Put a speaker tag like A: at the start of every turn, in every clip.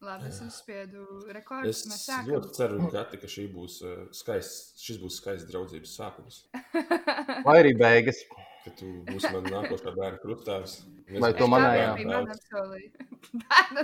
A: Labi, es uzspiedu rekordu.
B: Es
A: Mēs sākam.
B: ļoti ceru, Gati, ka šī būs uh, skaists, šis būs skaists draudzības sākums.
C: Vai arī beigas.
B: Ka tu būsi man nākošā bērna krustāvis.
C: Vai to manējā?
A: Tā bija mana apsolīja. Bērnu
C: Okay.
A: nu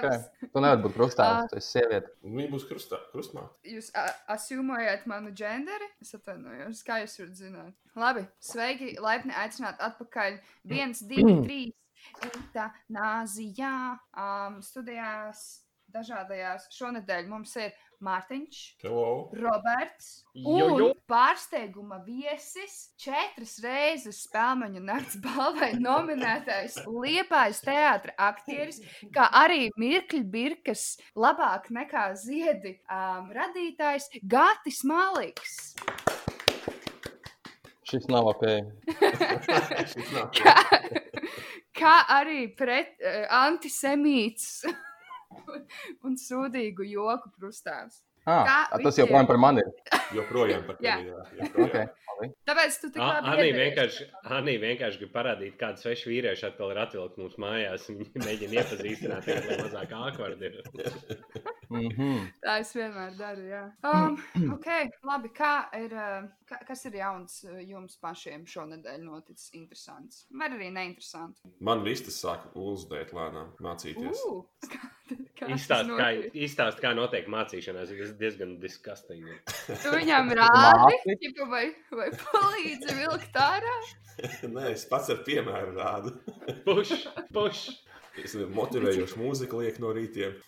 A: tēvs.
C: Tu nevari būt krustāvis, tu esi sieviete.
B: Viņa būs krustā, krustmā.
A: Jūs a- asumējat manu genderi? Es atvainojos, kā jūs varat zināt. Labi, sveiki, laipni aicināt atpakaļ. 1, 2, 3. Tā nāzijā um, studijās dažādajās. Šonadēļ mums ir Mārtiņš,
B: Hello!
A: Roberts un
D: Jo, jo.
A: pārsteiguma viesis. Četras reizes spēļu nakts balvai nominētais liepais teātris, aktieris, kā arī Mirkļa Birkas, labāk nekā ziedi um, radītājs Gatis Maliks.
C: Šis nav ok.
B: Šis nav.
A: Kā arī pret uh, antisemīts un sūdīgu joku prustāvs.
C: Ah,
A: Kā
C: tas
A: visiem?
C: joprojām par mani ir.
B: Joprojām par
A: Jā.
B: tevi. Jā,
C: Okay.
B: joprojām.
C: labi.
A: Tāpēc tu tik
D: A-
A: labi
D: Anī
A: iedēries.
D: Ah, vienkārši, Anī vienkārši grib parādīt, kāda sveša vīrieša atkal ir atvilkta mūsu mājās. Viņa mēģina iepazīstināt, kāda ir mazāk akvardi.
C: Mhm.
A: Tā es vienmēr daru. Jā.
C: Mm.
A: Um, ok, labi. Kā ir, uh, ka- kas ir jauns uh, jums pašiem šonadēļ noticis? Interesants. Vai arī neinteresants.
B: Man vistas sāk uzdēt lēnām mācīties.
A: Ū, kā- kā tas
D: Izstāst, kā,
A: notiek?
D: izstāst, kā notiek mācīšanās. Tas ir diezgan diskastīgi.
A: Tu viņam rādi,
C: Māki?
A: ķipa, vai, vai palīdzi vilkt ārā?
B: Nē, es pats ar piemēru rādu.
D: Puš, puš.
B: Es nezinu, motivējošu mūziku lieku no rītiem.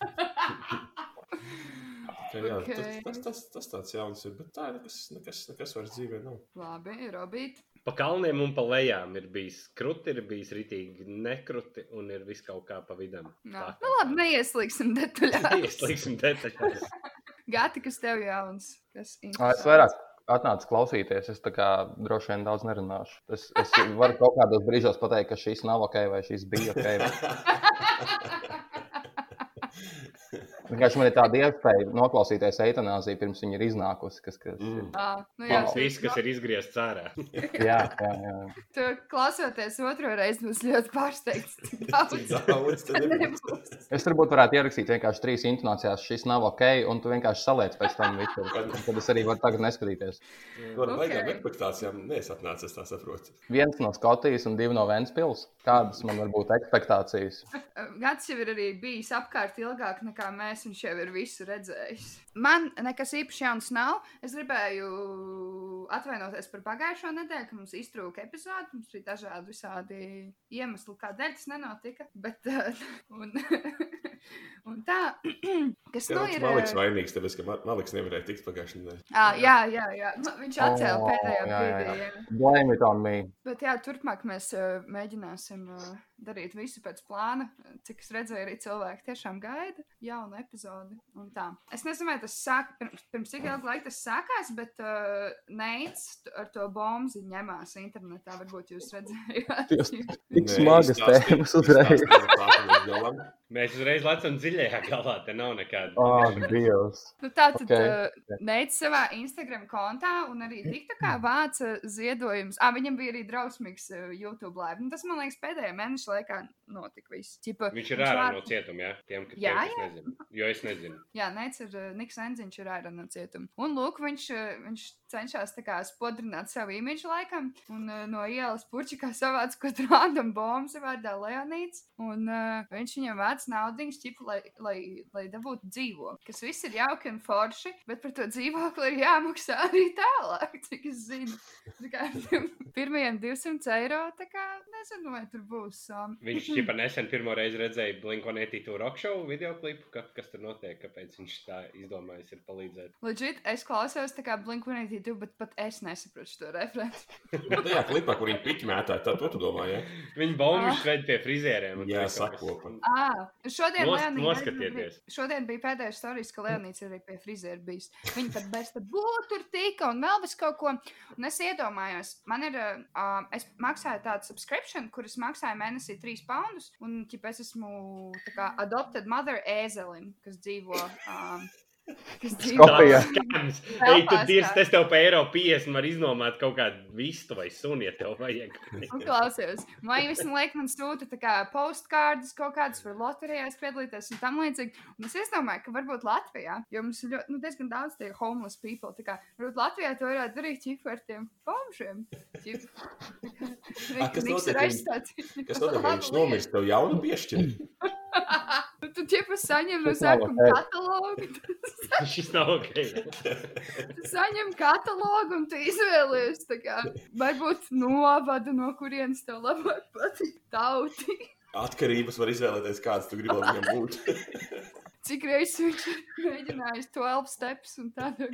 B: Tā, jā,
A: Ok.
B: okay. tas, tas, tas tāds jauns ir, bet tā nekas, nekas, nekas vairs dzīvē nav.
A: Labi, Robīt.
D: Pa kalniem un pa lejām ir bijis kruti, ir bijis rītīgi nekruti un ir viss kaut kā pa vidam.
A: Nā. Nu labi, neieslīgsim detaļās.
D: Ieslīgsim detaļās.
A: Gati, kas tev jauns? Kas
C: Ah, Es
A: interesants?
C: vairāk atnācu klausīties. Es tā kā droši vien daudz nerunāšu. Es, es varu kaut kādos brīžos pateikt, ka šis nav ok, vai šis bija ok. Vienkārši man ir tāda iespēja noklausīties eitanāziju pirms viņa ir iznākusi. Kas, kas...
B: Mm.
A: Ā, nu jā,
D: Tas viss, kas ir izgriezts ārā.
C: Jā, jā, jā.
A: Tu klausoties otro reizi, būs ļoti pārsteigts. cik
B: Cik
A: daudz
B: daudz tad ir?
A: nebūs.
C: Es varbūt varētu ierakstīt vienkārši trīs intonācijās, šis nav ok, un tu vienkārši saliec pēc tam visu. Tad es arī varu tagad neskatīties.
B: Ar
A: Ok.
B: baigām ekspektācijām neesatnācis, es tā saprotu.
C: Viens no Skotijas un divi no Vēncpils. Kādas man var būt ekspektācijas?
A: Gads jau ir arī bijis apkārt ilgāk nekā mēs, viņš jau ir visu redzējis. Man nekas īpaši jauns nav. Es gribēju atvainoties par pagājušo nedēļu, ka mums iztrūka epizode. Mums bija dažādi visādi iemesli, kādēļ tas nenotika. Bet, eh, un, un tā, kas nu
B: Jā,
A: ir.
B: Maliks
A: eh,
B: vainīgs, tāpēc, ka Ma- Maliks nevarēja tikt pagājušajā nedēļā.
A: ā, Jā, jā, jā. Nu, viņš atcēla
C: O,
A: pēdējā
C: jā, jā, jā.
A: brīdī. jā.
C: Blame it on me.
A: Bet, jā, turpmāk mēs uh, mēģināsim uh, darīt visu pēc plāna. Cik es redzēju, arī cilvēki tiešām gaida jaunu epizodi. un tā. Es nezinu, vai tas sāk, pirms, pirms cik ilga laika tas sākās, bet uh, Neits t- ar to bombu ņemās internetā. Varbūt jūs redzējāt.
C: Tik smagas tēmas uzreiz.
B: uzreiz.
D: Mēs uzreiz lecam dziļajā galā. Te nav nekāda.
C: Ak, Ah, Dievs.
A: nu, tā tad
C: Okay.
A: okay. uh, Neits savā Instagram kontā un arī TikTokā vāca ziedojumus. Ah, viņam bija arī drausmīgs uh, YouTube live. Nu, tas, man liekas, pēdējā mēneša laikā notika viss. Ķipa,
D: Viņš ir
A: viņš
D: ārā
A: vāca-
D: no cietuma, ja? Tiem, ka-
A: Jā,
D: tiem, kas nezina. Jo es nezinu.
A: Jā, Nēts ir uh, Niks Enziņš, ir ārā no cietuma. Un lūk, viņš, uh, viņš cenšas tā kā spodrināt savu imidžu laikam, un uh, no ielas puķa savāca kaut kādu random bombu vārdā Leonīts. Un uh, viņš viņam vēc naudu, čipu, lai, lai, lai dabūtu dzīvokli. Kas viss ir jauki un forši, bet par to dzīvokli ir jāmaksā arī tālāk, cik es zinu. Tā kā Pirmajiem 200 eiro, tā kā nezinu, vai tur būs. Um,
D: Viņš jau nesen pirmo reizi redzēja Blinkonētī to rock show video klipu, ka, kas tur notiek, kāpēc viņš tā izdomājis ir palīdzēt.
A: Legit, es klausos, tā kā Blink-182, bet pat es nesaprotu šo referenci.
B: Tajā klipā, kur viņi piķmētāji, tā to tu domā, jā?
D: Viņa bombu šveic pie frizieriem. un
B: Jā,
D: tur kaut kas-
B: sakopa.
A: Ah, šodien,
D: Nos-
A: Leonīda
D: noskatieties.
A: arī bija- šodien bija pēdējais stāsts, ka Leonīds ir arī pie friziera bijis. Viņa pat bez tam būtu tur tika un vēl bez kaut ko. Un es iedomājos, man ir, uh, es maksāju tādu subscription, kuras maksāju mēnesī 3 poundus, un ķip, es esmu tā kā adopted mother ēzelim, kas dzīvo. Um, kas
C: Skopijā.
A: dzīvo.
D: Tāds
C: Kopijā.
D: skams.
A: Vēl
D: Ej, tu
A: pārskats.
D: dirsti, es tev pa eiro 50 var iznomāt kaut kādu vistu vai suni, ja tev vajag.
A: Un Nu, klausies, vai jūs laikam man sūta tā kā postkārtas kaut kādas par loterijās piedalīties un tam līdzīgi. Un es domāju, ka varbūt Latvijā, jo mums ir ļoti, nu, diezgan daudz tie homeless people, tā kā varbūt Latvijā to varētu darīt ķipu ar tiem bomžiem.
B: A, Ah, kas
A: Niks
B: notiek,
A: ir
B: ja-
A: aizstāts.
B: Kas notiek, ja viņš nomirst, tev jaunu piešķir?
A: Nu, Tu ķipu saņem no
C: Tas nav
A: sākuma
C: ok.
A: katalogu,
D: Šis nav ok.
A: tu saņem katalogu un tu izvēlies, tā kā, varbūt novada, no kurienes tev labāk patīk tauti.
B: Atkarības var izvēlēties, kāds tu gribi lai viņam būt.
A: Cik reizes viņš ir mēģinājis 12 steps un tādu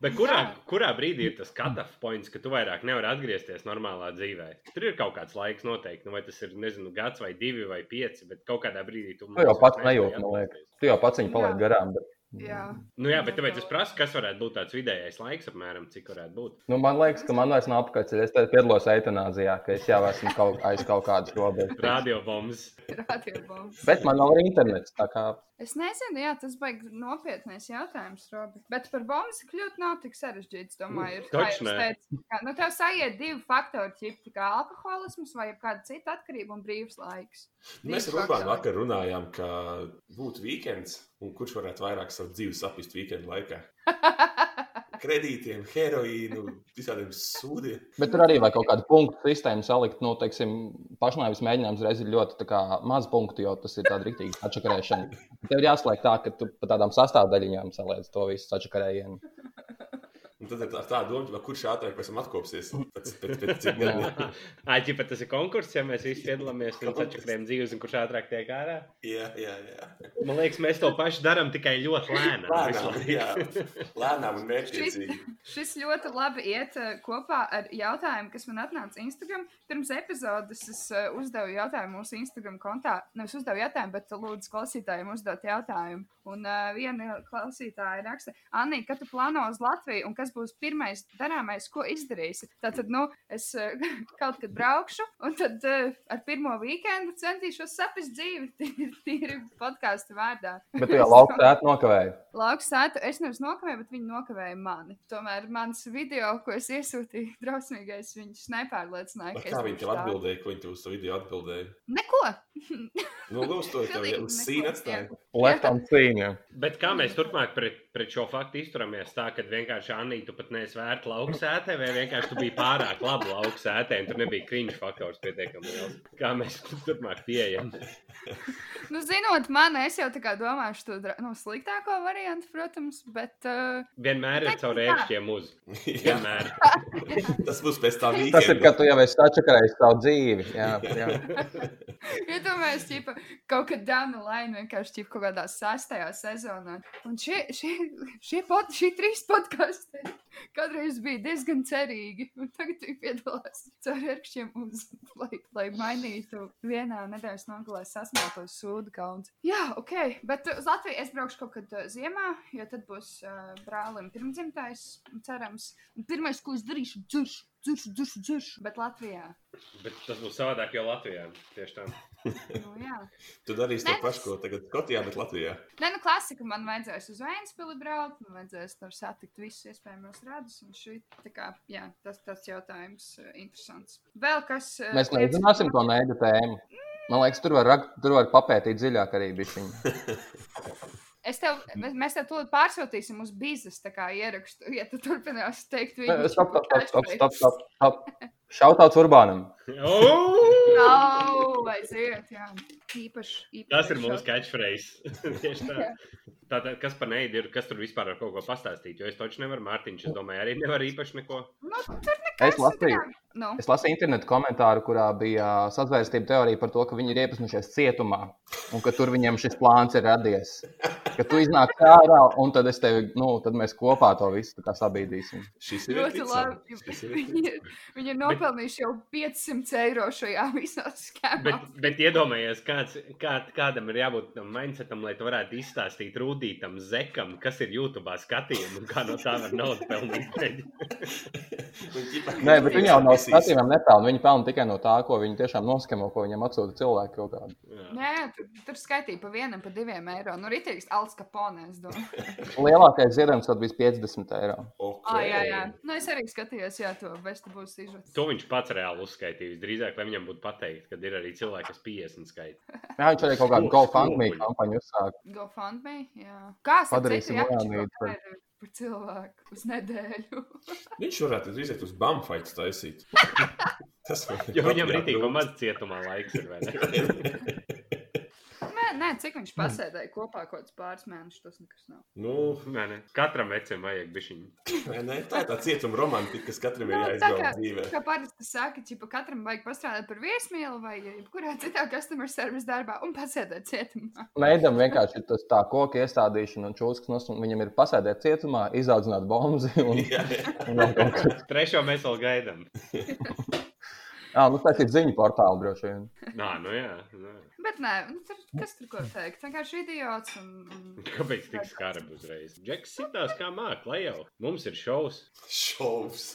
D: Bet kurā, kurā brīdī ir tas cut-off points, ka tu vairs nevari atgriezties normālā dzīvē? Tur ir kaut kāds laiks noteikti, nu, vai tas ir, nezinu, gads vai divi vai pieci, bet kaut kādā brīdī tu
C: Tu Nu jau
D: mūsos
C: pats
D: nevari
C: nejūti, man
D: atgriezties.
C: liekas. Tu jau pats viņu palaid
A: Jā.
C: garām. Bet...
A: Jā,
D: Nu, jā, bet tāpēc es prasu, kas varētu būt tāds vidējais laiks, apmēram, cik varētu būt.
C: Nu, man liekas, ka man vairs nav apgājis. Es te piedalos eitanāzijā, ka es jau esmu kaut, aiz kaut kādas robežas.
D: Radio bombas.
A: radiobombs.
C: Bet man nav arī internets. tā Kā...
A: Es nezinu, jā, tas baigs nopietnēs jautājums, Robi. Bet par bombas kļūt nav tik sarežģīts, domāju. Ir, kā
D: Nu, Taču
A: jūs
D: nē.
A: teicat, kā, nu tev sajiet divi faktori, ķip, tā kā alkoholisms vai kāda cita atkarība un brīvs laiks.
B: Mēs ar Urbānu vakar runājām, ka būtu weekends, un kurš varētu vairāk savu dzīvi sapist weekendu laikā. Kredītiem, heroīnu, visādiem sūdiem.
C: Bet tur arī vajag kaut kādu punktu sistēmu salikt. Nu, teiksim, pašnāvības mēģinājums reiz ir ļoti tā kā maz punktu, jo tas ir tāds rīktīgs atšakarēšana. Tev ir jāslēg tā, ka tu pa tādām sastāvdaļiņām saliec to visu atšakarējienu.
B: Un tad ir tā, tā doma, vai kurš ātrāk pēc tam atkopsies pēc, pēc, pēc cik gadiem.
D: Aģi, bet tas ir konkurss, ja mēs visi piedalāmies un sačakrējam dzīves, un kurš ātrāk tiek ārā.
B: Jā, jā, jā.
D: Man liekas, mēs to pašu darām tikai ļoti lēnām. visu
B: Lēnām,
D: laiku.
B: jā. Lēnām un
A: Šis,
B: mērķiecīgi.
A: šis ļoti labi iet eh, kopā ar jautājumu, kas man atnāca Instagram. Pirms epizodes es eh, uzdevu jautājumu mūsu Instagram kontā. Nevis uzdevu jautājumu, bet eh, lūdzu klausītājiem uzdot jautājumu. Un uh, viena klausītāja raksta, Anī, kad tu plāno uz Latviju un kas būs pirmais darāmais, ko izdarīsi? Tātad, nu, es eh, kaut kad braukšu, un tad eh, ar pirmo weekendu centīšos saprast dzīvi tīri- tīri podkāstu vārdā.
C: Bet tu jau lauku tēta nokavēji.
A: Lauks sēta, es nevis nokavēju, bet viņi nokavēja mani. Tomēr mans video, ko es iesūtīju, drausmīgais, viņš nepārliecināja,
B: Vai
A: ka
B: Kā
A: es
B: viņi tev atbildēja, ko viņi tev uz to video atbildēja?
A: Neko!
B: Nu, lūdzu, to tev jau
A: Pilnīgi
B: uz
A: neko.
B: sīna atstāja.
C: Left on cīņa.
D: Bet kā mēs turpmāk pret, pret šo faktu izturamies? Tā, ka vienkārši Anī, tu pat neesi vērta lauksētē, vai vienkārši tu biji pārāk laba lauksētē, un tur nebija kriņš faktors pietiekami liels. Kā mēs turpmāk pieejam?
A: Nu, zinot mani, es jau tā kā domāju, to dra- nu, sliktāko variantu, protams, bet. Uh,
D: Vienmēr ir caur rēkšķiem uz.
B: Jā,
D: Vienmēr.
B: tas būs pēc tā vīkenda.
C: Tas ir, ka tu jau esi atšakarējis savu dzīvi. Jā, jā.
A: Iedomājieties, ja kaut kādā dāna laina vienkārši ir kaut kādā sastajā sezonā. Un šie, šie, šie, pod, šie trīs podkāsti kādreiz bija diezgan cerīgi. Un tagad viņi piedalās cerībšķiem, lai, lai mainītu vienā nedēļas nogalē sasmalto sūdu kauns. Jā, ok, bet uz Latviju es braukšu kaut kad eh, ziemā, jo tad būs uh, brālim pirmdzimtais, cerams. Un pirmais, ko es darīšu, dziršu, dziršu, dziršu, dziršu, bet Latvijā.
D: Bet tas būs savādāk jau Latvijā. Tieši tā.
A: Nu, jā.
B: Tu darīsi to
A: Nē.
B: pašu, ko tagad Skotijā, bet Latvijā.
A: Nē, nu, klasika man vajadzēs uz Vēnspili braukt, man vajadzēs tur satikt visus iespējamos radus. Un šī, tā kā, jā, tas, tas jautājums ir interesants. Vēl kas. eh,
C: Mēs
A: liec-
C: nezināsim to neidu tēmu. Man liekas, tur var, rak- tur var papētīt dziļāk arī bišķiņu.
A: Es tev, mēs- mēs tev to pārsūtīsim uz biznes, tā kā ierakstu. Ja tu turpināsi teikt,
C: Nē,
A: viņi
C: Stop, stop, stop, stop, stop, stop, stop. Šautauts Urbānam.
D: Oh!
A: Nav, aiziet, jā. Īpaši, īpaši.
D: Tas ir mūsu catchphrase. Tieši tā. Tātad, kas par neidu ir, kas tur vispār var kaut ko pastāstīt? Jo es taču nevaru, Mārtiņš, es domāju, arī nevaru īpaši neko.
A: Nu, tur nekas.
C: Es lasīju.
A: Nu,
C: Es lasīju internetu komentāru, kurā bija ā, sazvērstība teorija par to, ka viņi ir iepazinušies cietumā un ka tur viņiem šis plāns ir radies. Ka tu iznāc ārā un tad, es tevi, nu, tad mēs kopā to visu tā kā sabīdīsim.
B: Šis ir
A: ļoti
B: ticams.
A: labi.
B: Šis ir
A: Viņi ir, viņi ir nopelnījuši jau 500 eiro šajā visā skēmā.
D: Bet, bet iedomājies, kāds, kā, kādam ir jābūt tam mindsetam, lai tu varētu izstāstīt Rudītam Zekam, kas ir YouTube skatījums un kā no tā var naudu pelnīt.
B: Un ķipa-
C: Nē, bet viņi jau no
B: Visīs.
C: skatījumiem nepelna. Viņi pelna tikai no tā, ko viņi tiešām noskamo, ko viņiem atsūta cilvēki kaut kādā.
D: Jā.
A: Nē, tur, tur skaitīja pa vienam, pa diviem eiro. Nu, rītīgs, al Als Capone. es domāju.
C: Lielākais zirgs tad bija 50 eiro.
A: Ah, jā, jā. Nu, es arī skatījos, jā, to vestu būs izvērsta.
D: To viņš pats reāli uzskaitījis. Drīzāk, lai viņam būtu pateikt, kad ir arī cilvēki, kas 50 skaita.
C: Jā, viņš arī kaut kādu
D: Skoks,
C: GoFundMe
D: skokuļi.
C: kampaņu uzsāka.
A: GoFundMe, jā. Kā
C: Padarīsim
A: sadarīsim
C: Leonīdu par-
A: par cilvēku uz nedēļu?
B: Viņš varētu iziet uz bumbuļsāļu taisīt. Tas
D: Jo viņam ir tik
B: nu.
D: maz cietumā laiks, ir, vai ne?
A: Nē, nē, cik viņš pasēdēja kopā kaut kāds pāris mēnešus, tas nekas nav.
B: Nu,
D: Nē, nē. Katram vecam vajag bišķiņu.
B: vai ne? tā ir tā cietuma romantika, kas katram ir
A: Nu, tā
B: jāizbauda dzīvē.
A: Kā parasti saka, ka katram vajag pastrādāt par viesmīlu vai jebkurā citā customer service darbā un pasēdēt cietumā.
C: Mēģinām vienkārši ir tas tā koka iestādīšana un čūskas nos, un viņam ir pasēdēt cietumā, izaudzināt bombu. Un...
B: Jā, jā.
C: un vēl kaut kas.
D: Trešo mēs vēl gaidām.
C: Jā, nu tas ir ziņu portāli droši vien.
D: Nā, nu jā. Nā.
A: Bet nē, nu, tur, kas tur ko teikt? Vienkārši idiots un. un...
D: Kāpēc tik skarbi uzreiz? Džeks sitās kā mākslinieks, lai jau mums ir šovs.
B: Šovs.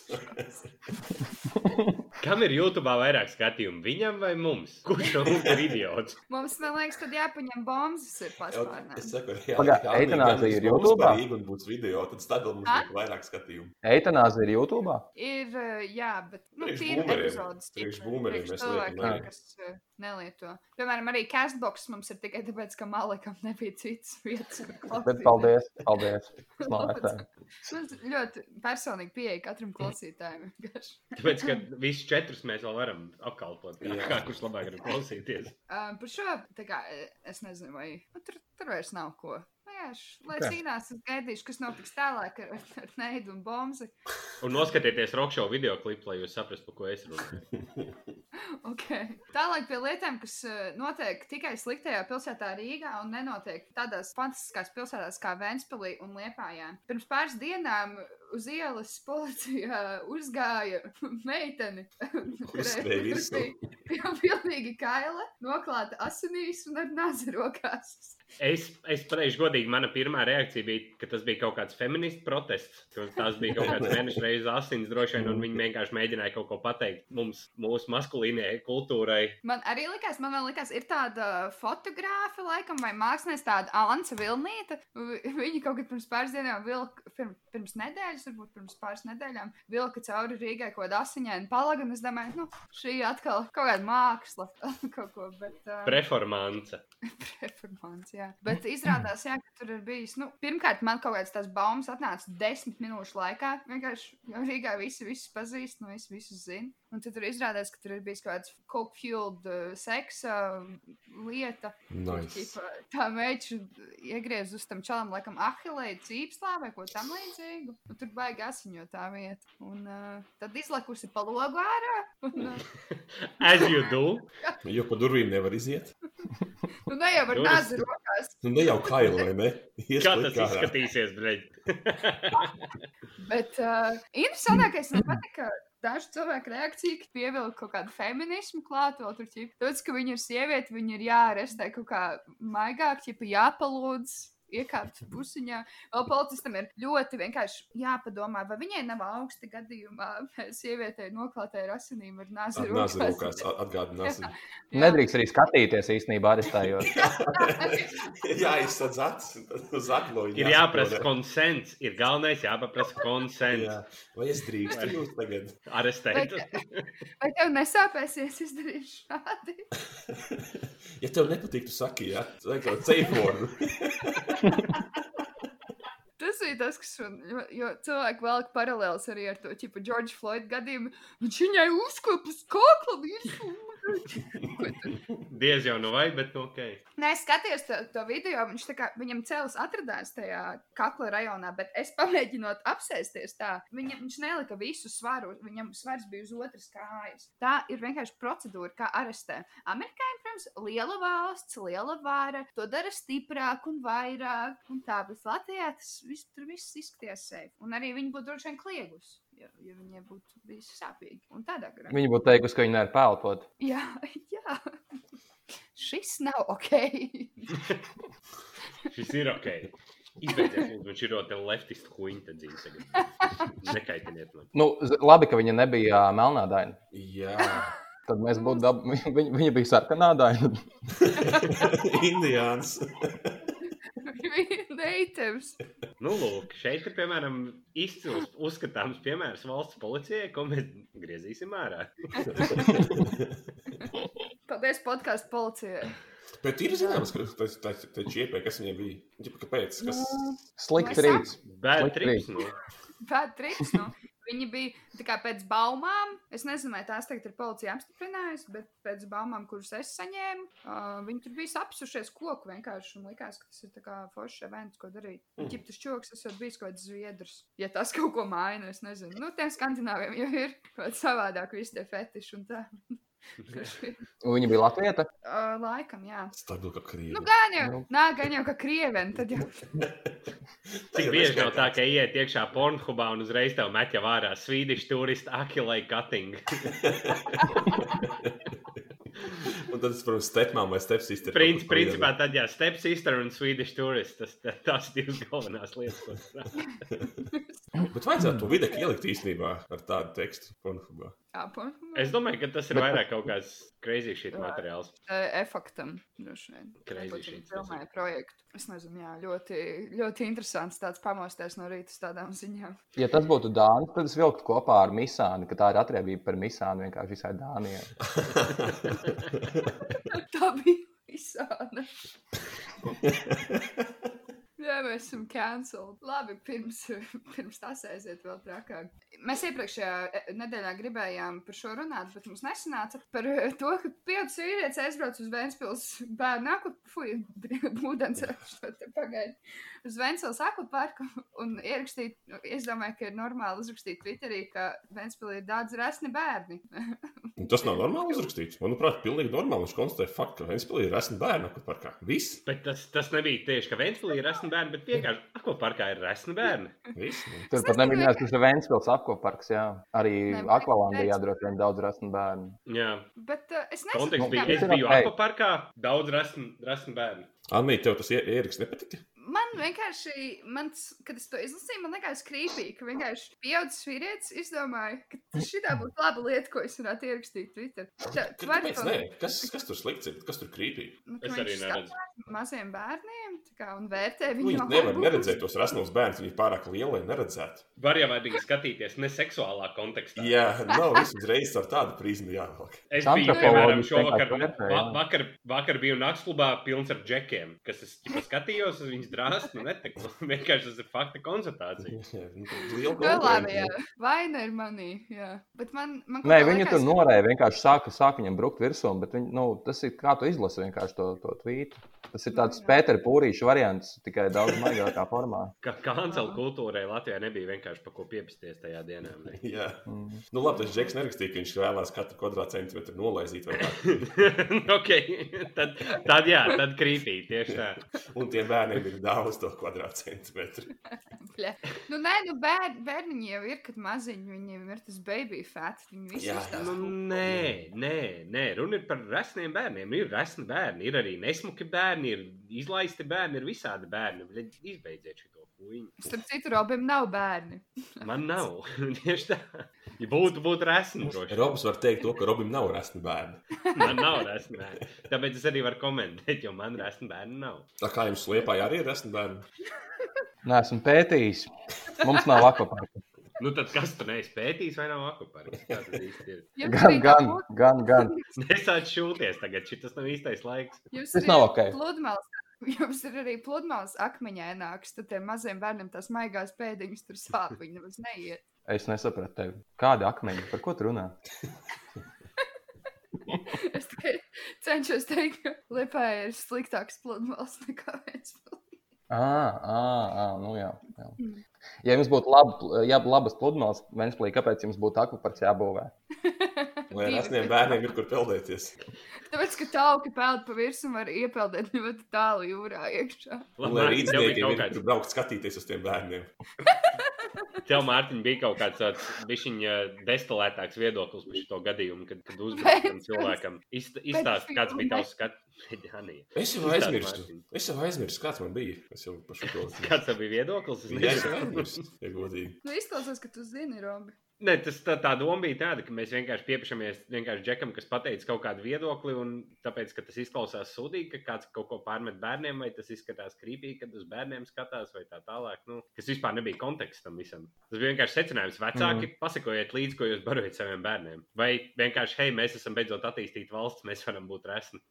D: Kam ir YouTube vairāk skatījumu? Viņam vai mums? Kurš no mums ir idiots?
A: Mums, man liekas, tad jāpaņem bombas ir
B: Jau,
A: paspārnē.
B: es saku, jā,
C: Pagaid,
B: jā,
C: eitanāzija ir
B: mums
C: YouTube?
B: svarīgi Un būs video, tad stabil mums
A: A?
B: būs vairāk skatījumu.
C: Eitanāze ir YouTube.
A: Ir, eh, jā, bet nu,
B: Priekš
A: tie ir
B: boomeriem.
A: epizodes.
B: Priekš
A: tipa,
B: boomeriem
A: priekš
B: mēs liekam,
A: cilvēkiem,
B: jā.
A: kas eh, nelieto. Piemēram, arī Castbox mums ir tikai tāpēc, ka Malikam nebija citas vietas. kur
C: Bet
A: klausīties.
C: paldies, paldies. Es novērtēju.
A: Mums ļoti personīgi pieeja katram klausītājam. vienkārši.
D: Tāpēc, ka visus četrus mēs vēl varam apkalpot. Kā,
B: Jā.
D: kā kurš labāk grib klausīties?
A: Ā, Par šo tā kā, eh, es nezinu, vai nu, tur, tur vairs nav ko. Vienkārši, Lai
C: Ok.
A: cīnās, es gaidīšu, kas notiks tālāk ar, ar Neidu un Bomzi.
D: Un noskatieties rokšo video klipu, lai jūs saprastu, par ko es runāju.
A: Okay. Tālāk pie lietām, kas eh, notiek tikai sliktajā pilsētā Rīgā un nenotiek tādās fantastiskās pilsētās kā Vēnspēlī un Liepājā. Pirms pāris dienām uz ielas policija uzgāja meiteni.
B: Uzskrēja virsū.
A: Viņa pilnīgi kaila, noklāta asinīs un ar nāzi rokās.
D: Es, es pateikšu, godīgi, mana pirmā reakcija bija, ka tas bija kaut kāds feminists protests. ka Tas bija kaut kāds mēneša reizes asins, droši vien, un viņi vienkārši mēģināja kaut ko pateikt mums, mūsu maskulīnajai kultūrai.
A: Man arī likās, man vēl likās, ir tāda fotogrāfa, laikam, vai mākslinieca, tāda Anna Vilnīta. Vi- Viņa kaut kad pirms pāris dienām, vilka, pirm, pirms nedēļas, varbūt pirms pāris nedēļām, vilka cauri Rīgai kaut kādu asiņainu palagu. un Es domāju, nu, šī atkal kaut kāda māksla, kaut ko, bet. ā,
D: Performance.
A: Performance, jā. Bet izrādās, jā, ka tur ir bijis. Nu, pirmkārt, man kaut kāds tās baumas atnāca desmit minūšu laikā. Vienkārši jau Rīgā visi visus pazīst, no visus, visus zina. Un tad tur izrādās, ka tur ir bijis kaut kāds coke-fueled uh, seksa lieta.
B: Nice.
A: Ķipa, tā meitene iegriez uz tam čalam, laikam, ahilēju cīpslā vai ko tam līdzīgu. Un tur baigās viņa tā vieta. Un uh, tad izlekusi pa logu ārā. Un, uh,
D: As you do.
B: Jo pa durvīm nevar iziet.
A: nu, ne jau ar
D: Jūras-
A: nāzi rokās.
B: Nu, ne jau kaila, vai ne? Ies
D: Kā
B: likt
D: tas
B: ārā.
D: izskatīsies, brīdī?
A: Bet uh, interesantākais man patika. Dažu cilvēku reakcija, ka pievilka kaut kādu feminismu klāt, vēl tur ķip. Tāpēc, ka viņa ir sieviete, viņa ir jāarestē kaut kā maigāk, ķip, jāpalūdz, iekāpt pusiņā. Vēl policistam ir ļoti vienkārši jāpadomā, vai viņai nav augsti gadījumā sievietei noklātē ar asinīm, ar nāzi
B: Nāzi rokās atgādinās.
C: Nedrīkst arī skatīties īstenībā, arestējot.
B: Jā, izsadz acis, tad uz atloju.
D: Ir jāprasa konsens. Ir galvenais jāpaprasa konsens.
B: Jā. Vai es drīkstu
D: Vai-
B: jūs tagad?
D: Arestēt.
A: Vai tev nesāpēsies izdarīt šādi?
B: Ja tev nepatīk, tu saki, jā, tā kā ceļformu.
A: Tas bija tas, kas man, jo- jo cilvēki velk paralēlus arī ar to, tipu, George Floyd gadījumu. Viņš viņai uzkopa uz kakla virsmu.
D: Diez jau nu vai, bet nu ok.
A: Nē, es skatījos to, to video, viņš tā kā, viņam cēlus atradās tajā kakla rajonā, bet es pamēģinot apsēsties tā, viņa, viņš nelika visu svaru, viņam svars bija uz otras kājas. Tā ir vienkārši procedūra, kā arestē. Amerikāņi, protams, liela valsts, liela vāra, to dara stiprāk un vairāk, un tā, bet Latvijā tas viss, tur viss izskatījās sevi. Un arī viņi būtu droši vien kliegus, ja, ja viņiem būtu bijis sāpīgi. Un tādā garā.
C: Viņi būtu teikusi, ka viņi nevar pelpot.
A: Jā, jā. Šis nav ok.
D: Šis ir ok. Izbeidzies, lūdzu, viņš ir ļoti leftistu huņta dzīves. tagad. Nekaitiniet man.
C: Nu, z- labi, ka viņa nebija ā, melnādaina.
B: Jā,
C: Tad mēs būtu dab... viņa, viņa bija sarkanādaina.
B: indiāns.
A: Vi- natives.
D: Nu, lūk, šeit ir piemēram izcils uzskatāms piemērs valsts policijai, ko mēs griezīsim ārā.
A: Paldies podkāstu policijai.
B: Bet ir zināms, ka tas ir čiepē, kas viņai bija. Ģip, Kāpēc? Kas...
C: Slikts
A: Vai
C: rīts.
D: Bad
C: Slikti.
D: trips. Nu.
A: Bad trips. Nu. Viņi bija tā kā pēc baumām. Es nezinu, vai tās tagad ir policija apstiprinājusi, bet pēc baumām, kuras es saņēmu, uh, viņi tur bija apsušies koku vienkārši. Un likās, ka tas ir tā kā foršs events, ko darīt.
B: Mm.
A: Mm. Ķiptas čoks, tas jau bijis kaut kāds zviedrs. Ja tas kaut ko maina, es nezinu. Nu, tiem skandināviem jau ir kaut kāds savādāk visi tie fetiši un tā. uh,
C: Un Viņa bija Latvija.
A: laikam, jā.
B: Stabilu kā krīvi.
A: Nu, gan jau,
C: Nu.
A: nā, gan jau, ka krieveni, tad jau.
D: Cik bieži nav tā, ka iet iekšā pornogrāfijā un uzreiz te met jau ārā svīdišu turistu akilai cutting.
B: Un tad, es, protams, stepmām vai stepsister.
D: Princ, principā tad, jā, stepsister un svīdišu turistu, tas tās divas galvenās lietas, ko strādā.
B: Bet vajadzētu to videkli ielikt īstenībā ar tādu tekstu. Pornhubā.
A: Jā, pam-
D: Es domāju, ka tas ir vairāk kaut kāds crazy shit materiāls.
A: Eh, efektam. droši vien.
D: Crazy
A: Varbūt
D: shit,
A: viņi Filmēja projektu. Es nezinu, jā, ļoti, ļoti interesants tāds pamosties no rīta uz tādām ziņām.
C: Ja tas būtu Dānis, tad es vilktu kopā ar Misānu, ka tā ir atriebība par Misānu vienkārši visai Dānijai.
A: Tā bija visāda. Jā, mēs esam canceled. Labi, pirms, pirms tas aiziet vēl trakāk. Mēs iepriekšējā eh, nedēļā gribējām par šo runāt, bet mums nesanāca par eh, to, ka pieaugušs vīrietis aizbrauc uz Vēnspils bērnu akvaparku, ūdens pagaidu, uz Vēnspils akvaparku un ierakstīt, nu, es domāju, ka ir normāli uzrakstīt Twitterī, ka Vēnspilī ir daudz resni bērni.
B: Un Tas nav normāli uzrakstīts. Manuprāt, pilnīgi normāli viņš konstatē faktu, ka Vēnspilī ir esmu bērnu kur parkā. Viss,
D: Bet tas, tas nebija tieši, ka Vēnspilī ir resni bērni, bet vienkārši, ako parkā ir resni bērni.
B: viss.
C: Tur
A: Es
C: pat
A: nezinu,
C: neminēts, kas ir Vēnspils apkoparks. Jā. Arī
A: Nē, bet-
C: Akvalandijā droši vien daudz rasnu bērnu.
D: Jā,
A: Bet uh, es nezinu,
D: konteksts
C: Nu,
D: bija,
C: tas
D: es
C: ir
D: biju
C: ok.
D: ako parkā, daudz resni, resni bērni.
B: Anī, tev tas ie- ieraksts nepatika?
A: Man vienkārši, mans, kad es to izlasīju, man liekas, krīpīgi, ka vienkārši pieaugušas vīrietis izdomāja, ka šī būtu laba lieta, ko es varētu ierakstīt Twitter. Tā nu,
B: Ka- Kāpēc? Nē, kas, kas tur slikts ir? Kas tur krīpīgi?
D: Es arī neredzu.
A: Maziem bērniem tā kā, un vērtē
B: Nu,
A: viņu.
B: viņi nevar neredzēt tos rasnos bērnus, viņi ir pārāk lieli, lai neredzētu.
D: Var jau arī skatīties ne seksuālā kontekstā.
B: Jā, nav vismaz ar tādu prizmu jāvelk.
D: Es biju
C: Antropologi
D: piemēram
C: vienkārši
D: šovakar,
C: vērtē,
D: va,
C: jā.
D: vakar, vakar biju naktslubā pilns ar džekiem, kas es ķipa, skatījos uz viņas drāsnu, neteku. Vienkārši tas ir fakta konstatācija.
B: nu, Liela
A: Jā, labi, jā.
B: konkurence.
A: Vaina ir manī. Jā. Bet man, man
C: Nē, viņa tur norēja, vienkārši sāka, sāka viņam brukt virsū, bet viņa, nu, tas ir kā tu izlasi vienkārši to, to tvītu. Tas ir tāds
A: Jā.
C: Pētera Pūrīša variants, tikai daudz maigākā formā.
D: Kā kancela kultūrai Latvijā nebija vienkārši par ko piepasties tajā dienā.
B: Jā,
C: Mm.
B: nu labi, tas Džeks nerakstīja, ka viņš vēlās katru kvadrātcentimetru nolaizīt vai kā.
D: okay. tad, tad jā, tad krītī tieši tā.
B: Un tiem bērniem ir daudz to kvadrātcentimetru.
A: Ple. Nu, nē, nu bēr, bērniņi jau ir, kad maziņi viņiem ir tas baby fat. Viņi visi
B: Jā,
A: ir
D: Nu,
A: tādi.
D: nē, nē, nē, runa ir par resniem bērniem. Ir resni bērni, ir arī nesmuki bērni, ir izlaisti bērni, ir visādi bērni. Bļaļ, Izbeidziet šo puiku.
A: Starp citu, Robim nav bērni.
D: Man nav. Tieši tā. Ja būtu, būtu resni. droši.
B: Robs var teikt to, ka Robim nav rasni bērni.
D: Man nav resni bērni. Tāpēc es arī varu komentēt, jo man resni bērni nav.
B: Tā kā jums liepā arī ir rasni bērni.
C: Nē, esmu pētījis. Mums nav akvaparka.
D: Nu tad kas tur neizpētīs vai nav akuparks? Tā tas īsti ir.
A: Jums
C: Gan,
A: arī
C: gan,
A: nav
C: gan, gan.
D: Nesāc šūties tagad, šis tas nav īstais laiks.
A: Jums
C: Tas
A: ir
C: nav ok.
A: Pludmales. Jums ir arī pludmales akmeņaināks, tad tiem maziem bērniem tās maigās pēdiņas tur sāp. Viņi nemaz neiet.
C: Es nesapratu tevi. Kāda akmeņa? Par ko tu runā?
A: Es tikai cenšos teikt, ka Lietpā ir sliktāks pludmales nekā Vēnspils.
C: Ah, ah, ah, nu jā, jā.
A: Mm.
C: Ja jums būtu laba, jā, labas pludmales, Vēnsplī, kāpēc jums būtu akvaparks jābūvē?
B: Lai rasniem bērniem ir kur peldēties.
A: Tāpēc, ka tauki peld pa virsmu un var iepeldēt ļoti tālu jūrā iekšā.
B: Un lai
D: Mārtiņ, tev bija
B: rīzniekiem ir
D: kaut kāds-
B: kur braukt skatīties uz tiem bērniem.
D: Tev, Mārtiņ, bija kaut kāds tāds višķiņa eh, destilētāks viedoklis par šo gadījumu, kad, kad uzbrūk tam
A: Bet-
D: cilvēkam. Izst- Izstāst, kāds bija tavs skats. Janija.
B: Es jau
D: Izstāsti,
B: aizmirsu.
D: Mārtiņ.
B: Es jau aizmirsu, kāds man bija. Es jau par šo to.
D: Kāds tev bija viedoklis? Es
B: Jā, es jau
D: nezinu.
B: aizmirsu, ja godīgi.
A: Nu, izklausās, ka tu zini, Robi.
D: Ne, tas tā, tā doma bija tāda, ka mēs vienkārši pieprasāmies vienkārši džekam, kas pateica kaut kādu viedokli, un tāpēc, ka tas izklausās sūdīgi, ka kāds kaut ko pārmet bērniem, vai tas izskatās krīpīgi, kad uz bērniem skatās, vai tā tālāk. Nu, kas vispār nebija konteksts tam visam. Tas bija vienkārši secinājums. Vecāki, mm. pasakojiet līdzi, ko jūs barojat saviem bērniem. Vai vienkārši, hei, mēs esam beidzot attīstīta valsts, mēs varam būt resni.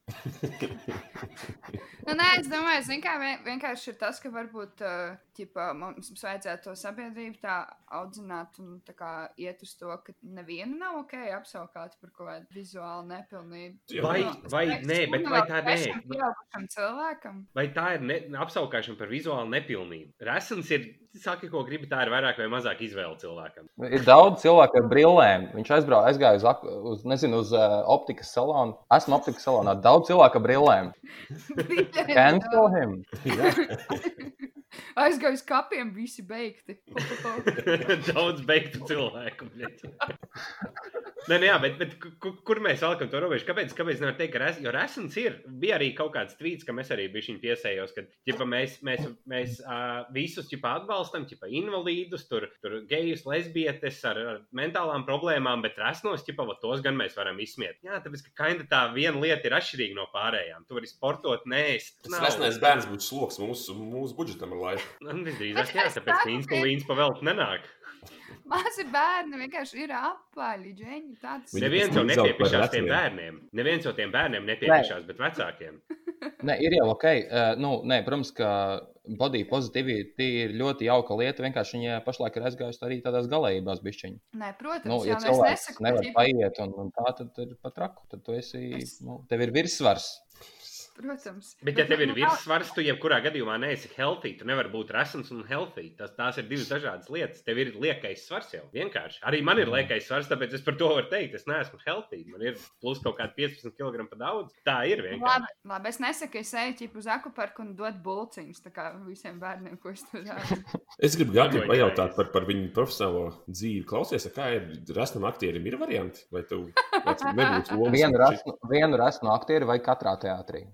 A: Nu, nē, es domāju, zin, kā, vien- vienkārši ir tas, ka varbūt uh, ķipa, mums mums vajadzētu to sabiedrību tā audzināt un tā kā iet uz to, ka nevienu nav ok apsaukāt par kaut kādu vizuālu nepilnību.
B: Jā.
D: Vai,
A: Nu,
D: vai
A: es-
D: nē, bet
A: nu,
D: vai
A: vēl
D: tā
A: trešam
D: nē?
A: pieaugušam cilvēkam.
D: Vai tā ir ne, apskaukšana par vizuālu nepilnību? Resns ir, saka, ko gribi, tā ir vairāk vai mazāk izvēle cilvēkam.
C: Ir daudz cilvēku ar brillēm. Viņš aizbrauca, aizgāja uz, ak- uz, nezinu, uz uh, optikas salonu. Esmu optikas salonā. Daudz cilvēku ar brillēm. Cancel him.
A: Aizgāju uz kapiem, visi beigti.
D: Daudz beigtu cilvēku. bļaļ. Nē, nē, jā, bet, bet ku- ku- kur mēs vēlamies to robežu? Kāpēc? Kāpēc nevar teikt, ka res, jo resns ir? Bija arī kaut kāds tvīts, ka mēs arī bijām piesējos, ka ģipa, mēs, mēs, mēs uh, visus ģipa, atbalstam, ģipa, invalīdus, tur, tur gejus, lesbietes ar, ar mentālām problēmām, bet resnos ģipa, va, tos gan mēs varam izsmiet. Jā, tāpēc ka kaina tā viena lieta ir atšķirīga no pārējām. Tu vari sportot, nē, es.
B: Tas nesenais bērns būtu sloks mūsu, mūsu budžetam ar laiku.
D: Man Nu, visdrīzāk, jā, tāpēc ka insulīns pavēlt nenāk.
A: Mazi bērni vienkārši ir apaļi, ģēni. Tāds
B: Viņi-
D: Neviens
B: pēc
D: jau
B: tam izaug par
D: nepiepiešās tiem
B: veciem.
D: bērniem. Neviens jau tiem bērniem nepiepiešās, bet vecākiem.
C: Nē, ir jau ok. Uh, nu, nē, protams, ka body positivity ir ļoti jauka lieta. Vienkārši viņa pašlaik ir aizgājusi arī tādās galējībās, bišķiņā.
A: Nē, protams,
C: Nu,
A: nu,
C: ja
A: jā, nu, es
C: cilvēks
A: nesaku,
C: nevar
A: ka ģipa-
C: paiet, un, un tā tad ir pat raku. Tad tu esi,
A: Es-
C: nu, tev ir virsvars.
A: protams.
D: Bet, ja tev ir
A: nu,
D: virsvars, tu jebkurā gadījumā neesi healthy. Tu nevari būt resns un healthy. Tas, tās ir divas dažādas lietas. Tev ir liekais svars jau. Vienkārši. Arī man
B: Mhm.
D: ir liekais svars, tāpēc es par to varu teikt. Es neesmu healthy. Man ir plus kaut kādi 15 kg pa daudz. Tā ir vienkārši.
A: Labi, labi, es nesaku, ka es eju ķip uz akuparku un dodu bulciņus tā kā visiem bērniem, ko es tur daru.
B: Es gribu Gabri
D: Pagoļ,
B: pajautāt
D: Gabri.
B: par, par viņu profesionālo dzīvi. Klausies, kā ir rasnam aktierim, ir varianti, vai tev kāds nebūtu lomas?
C: Vienu rasnu, vienu rasnu aktieru vai katrā teātrī.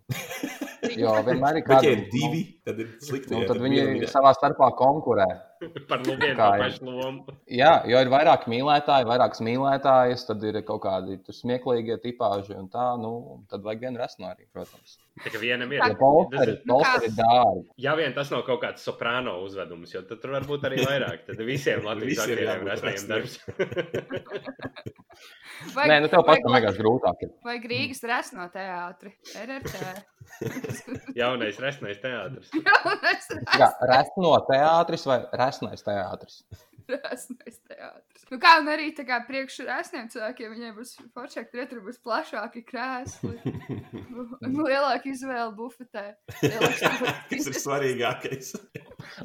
C: Jo vienmēr ir
B: Bet,
C: kāda
B: ja ir divi, tad ir slikti.
C: Nu,
B: ja
C: tad
B: vienam
C: viņi
B: ir-
C: savā starpā konkurē.
D: Par lūgiem
C: Kā ir?
D: pašu lomu.
C: Jā, jo ir vairāk mīlētāji, vairākas mīlētājas, tad ir kaut kādi tur smieklīgie tipāži un tā. Nu, tad vajag vienu resnu arī, protams.
D: Tā kā vienam ir.
C: Ja polsteri,
D: Tas ir-
A: nu
C: polsteri dārgi.
D: Ja vien tas nav kaut kāds soprāno uzvedums, jo tad tur var būt arī vairāk. Tad visiem Latvijas
B: Visiem
D: aktieriem ir
B: jābūt
D: resniem darbs.
A: Vai,
C: Nē, nu tev
A: vai,
C: pašam vienkārši grūtāk. ir.
A: vai Grīgas resno teātri? RRT.
D: Jaunais resnais teātris.
A: Jaunais
C: Tā kā Resno teātris vai resnais teātris?
A: Resnais teātris. Nu, kā un arī tā kā priekšrēsniem cilvēkiem, viņiem būs foršāk, tur būs plašāki krēsli, nu, lielāka izvēle bufetē.
B: Tas ir
A: Lielāks-
B: svarīgākais.